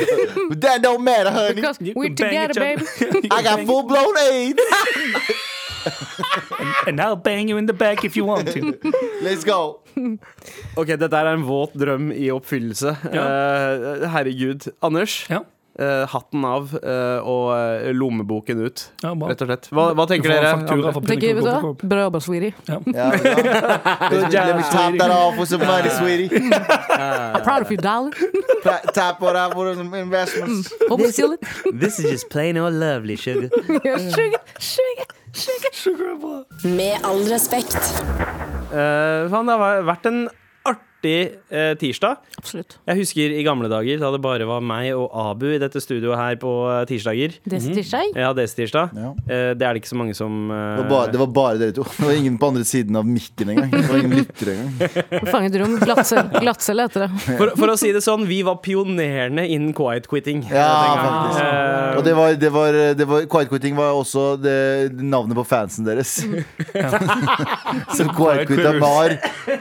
S5: But that don't matter, honey.
S3: Because
S4: You
S3: we're
S4: can bang
S3: together,
S4: each other.
S3: baby.
S4: You can
S5: I got
S4: bang-
S5: full blown AIDS!
S4: And I'll bang you in the back if you want to.
S5: Let's go!
S2: Ok, dette er en våt drøm i oppfyllelse. Eh, herregud. Anders,
S4: Ja.
S2: eh, hatten av eh, og eh, lommeboken ut,
S4: Ja, bra.
S2: rett og slett. Hva, hva tenker
S4: får
S2: dere?
S4: faktura for
S3: Tenker, vet du hva?
S4: Pinnacle
S3: Bra jobba, Sweetie.
S5: Ja, ja. Let me tap that off with some money, sweetie.
S3: I'm proud of you, darling.
S5: Ta- Tap what I for some investments.
S3: Hope you steal it.
S2: This is just plain old lovely sugar.
S3: Sugar, sugar, sugar.
S1: Med all respekt.
S2: Eh, det har vært en artig eh, tirsdag.
S3: Absolutt.
S2: Jeg husker i gamle dager da det bare var meg og Abu i dette studioet her på eh, tirsdager.
S3: Det
S4: Mhm.
S3: sitter seg.
S2: Ja, desi tirsdag.
S5: Ja.
S2: Eh, det er det ikke så mange som eh,
S5: Det var, bare, det var bare dere to. Det var ingen på andre siden av mikken engang. Det var ingen lyttere engang.
S3: Fanget rom. Glattcelle glattcelle heter det.
S2: for, for å si det sånn, vi var pionerene innen quiet quitting. eh, den
S5: Ja,
S2: gangen.
S5: faktisk.
S2: eh,
S5: Og det var, det var, det var Quiet Quitting var også det, navnet på fansen deres. Som Quiet Quitta var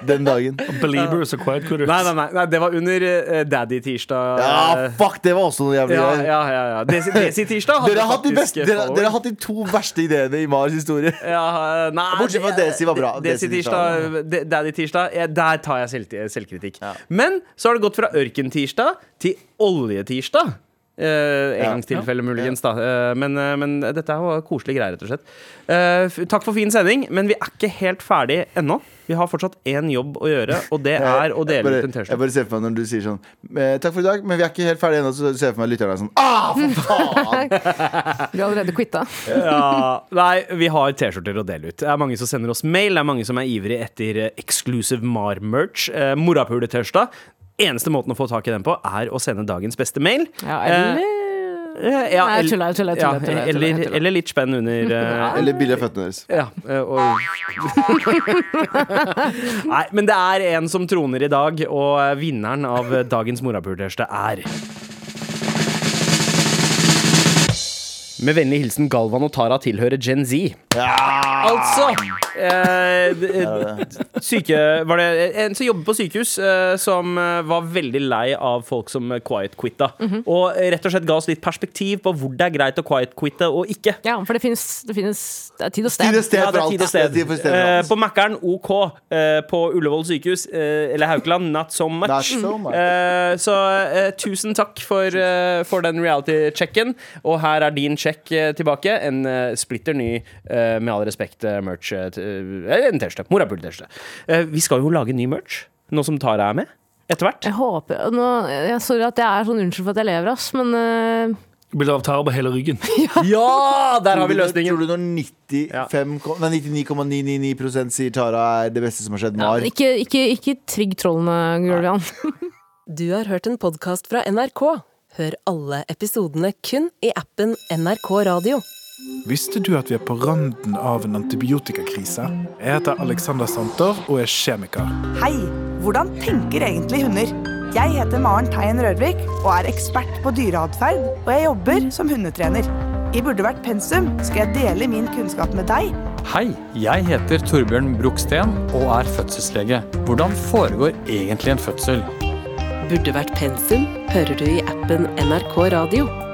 S5: den dagen.
S4: Believers og Quiet Quitters.
S2: Nei, nei, nei, nei, det var under eh, Daddy-tirsdag.
S5: Ja,
S2: eh,
S5: fuck, det var også noe jævlig
S2: ja,
S5: greier.
S2: ja, ja, ja. Desi- Desi-tirsdag hadde
S5: Dere har, hatt de
S2: faktisk
S5: beste, dere,
S2: follower.
S5: dere har hatt de to verste ideene i Mars historie.
S2: ja, eh, nei,
S5: Bortsett fra
S2: det-
S5: Desi var bra.
S2: Desi
S5: Desi-tirsdag.
S2: tirsdag, De- Daddy tirsdag ja, Der tar jeg selvti- selvkritikk. Men så har det gått fra ørkentirsdag til oljetirsdag. Uh, engangstilfelle, muligens, da. Eh, men, eh, men dette her var koselige greier, rett og slett. Eh, f takk for fin sending, men vi er ikke helt ferdig ennå. Vi har fortsatt én jobb å gjøre, og det er å dele
S5: Jeg bare,
S2: ut en
S5: jeg
S2: T-skjorte.
S5: bare ser for meg når du sier sånn eh, Takk for i dag, men vi er ikke helt ferdige ennå. Så ser jeg for meg lytterne er sånn Ah, for faen!
S3: Vi har allerede quitta.
S2: Ja, nei, vi har T-skjorter å dele ut. Det er mange som sender oss mail, det er mange som er ivrige etter eh, exclusive MAR-merch. Eh, Morapuletørsdag. Eneste måten å få tak i den på, er å sende dagens beste mail.
S3: Ja,
S2: Eh,
S3: eller
S2: eh, ja,
S3: Nei, jeg
S2: el-
S3: tuller, jeg tuller, jeg
S2: ja,
S3: tuller, jeg tuller, jeg tuller, jeg
S2: Eller,
S3: tuller.
S2: eller litt spenn under eh,
S5: Eller billig av føttene deres.
S2: ja, eh, og... Nei, men det er en som troner i dag, og eh, vinneren av eh, dagens morapulerte er Med vennlig hilsen Galvan og Tara tilhører Gen Z. Altså eh, d- Syke Var det en som jobber på sykehus, eh, som eh, var veldig lei av folk som eh, quiet-quitta. Og eh, rett og slett ga oss litt perspektiv på hvor det er greit å quiet-quitte og ikke.
S3: Ja, for det finnes, det finnes Det er tid
S5: Tid
S3: og sted.
S5: og sted
S2: Ja, det
S5: for
S2: er
S5: alt.
S2: tid og sted.
S5: Det er tid og sted for
S2: Eh,
S5: alt.
S2: på Mækkern, OK. Eh, på Ullevål sykehus, eh, eller Haukeland, not so much.
S5: Not so much.
S2: Eh, så eh, tusen takk for, eh, for den reality-checken. Og her er din check eh, tilbake. En eh, splitter ny, eh, med all respekt, eh, merch. eh, t- Eller en T-skjorte. Morapul-T-skjorte. Eh, vi skal jo lage ny merch, nå som Tara er med. Etter hvert.
S3: Jeg håper og nå, jeg, Sorry at jeg er sånn unnskyld for at jeg lever, ass, men eh,
S4: Bilder av Tara på hele ryggen.
S2: Ja! Der har vi
S5: Tror
S2: løsningen.
S5: du når 99,999 sier Tara er det beste som har skjedd Mar?
S3: ikke, ikke, ikke trigg trollene, Gulvian.
S1: Du har hørt en podkast fra NRK. Hør alle episodene kun i appen NRK Radio.
S7: Visste du at vi er på randen av en antibiotikakrise? Jeg heter Alexander Santer og er kjemiker.
S8: Hei! Hvordan tenker egentlig hunder? Jeg heter Maren Teien Rørvik og er ekspert på dyreatferd, og jeg jobber som hundetrener. I Burde vært pensum skal jeg dele min kunnskap med deg
S9: Hei, jeg heter Torbjørn Broksten og er fødselslege. Hvordan foregår egentlig en fødsel?
S1: Burde vært pensum, hører du i appen NRK Radio.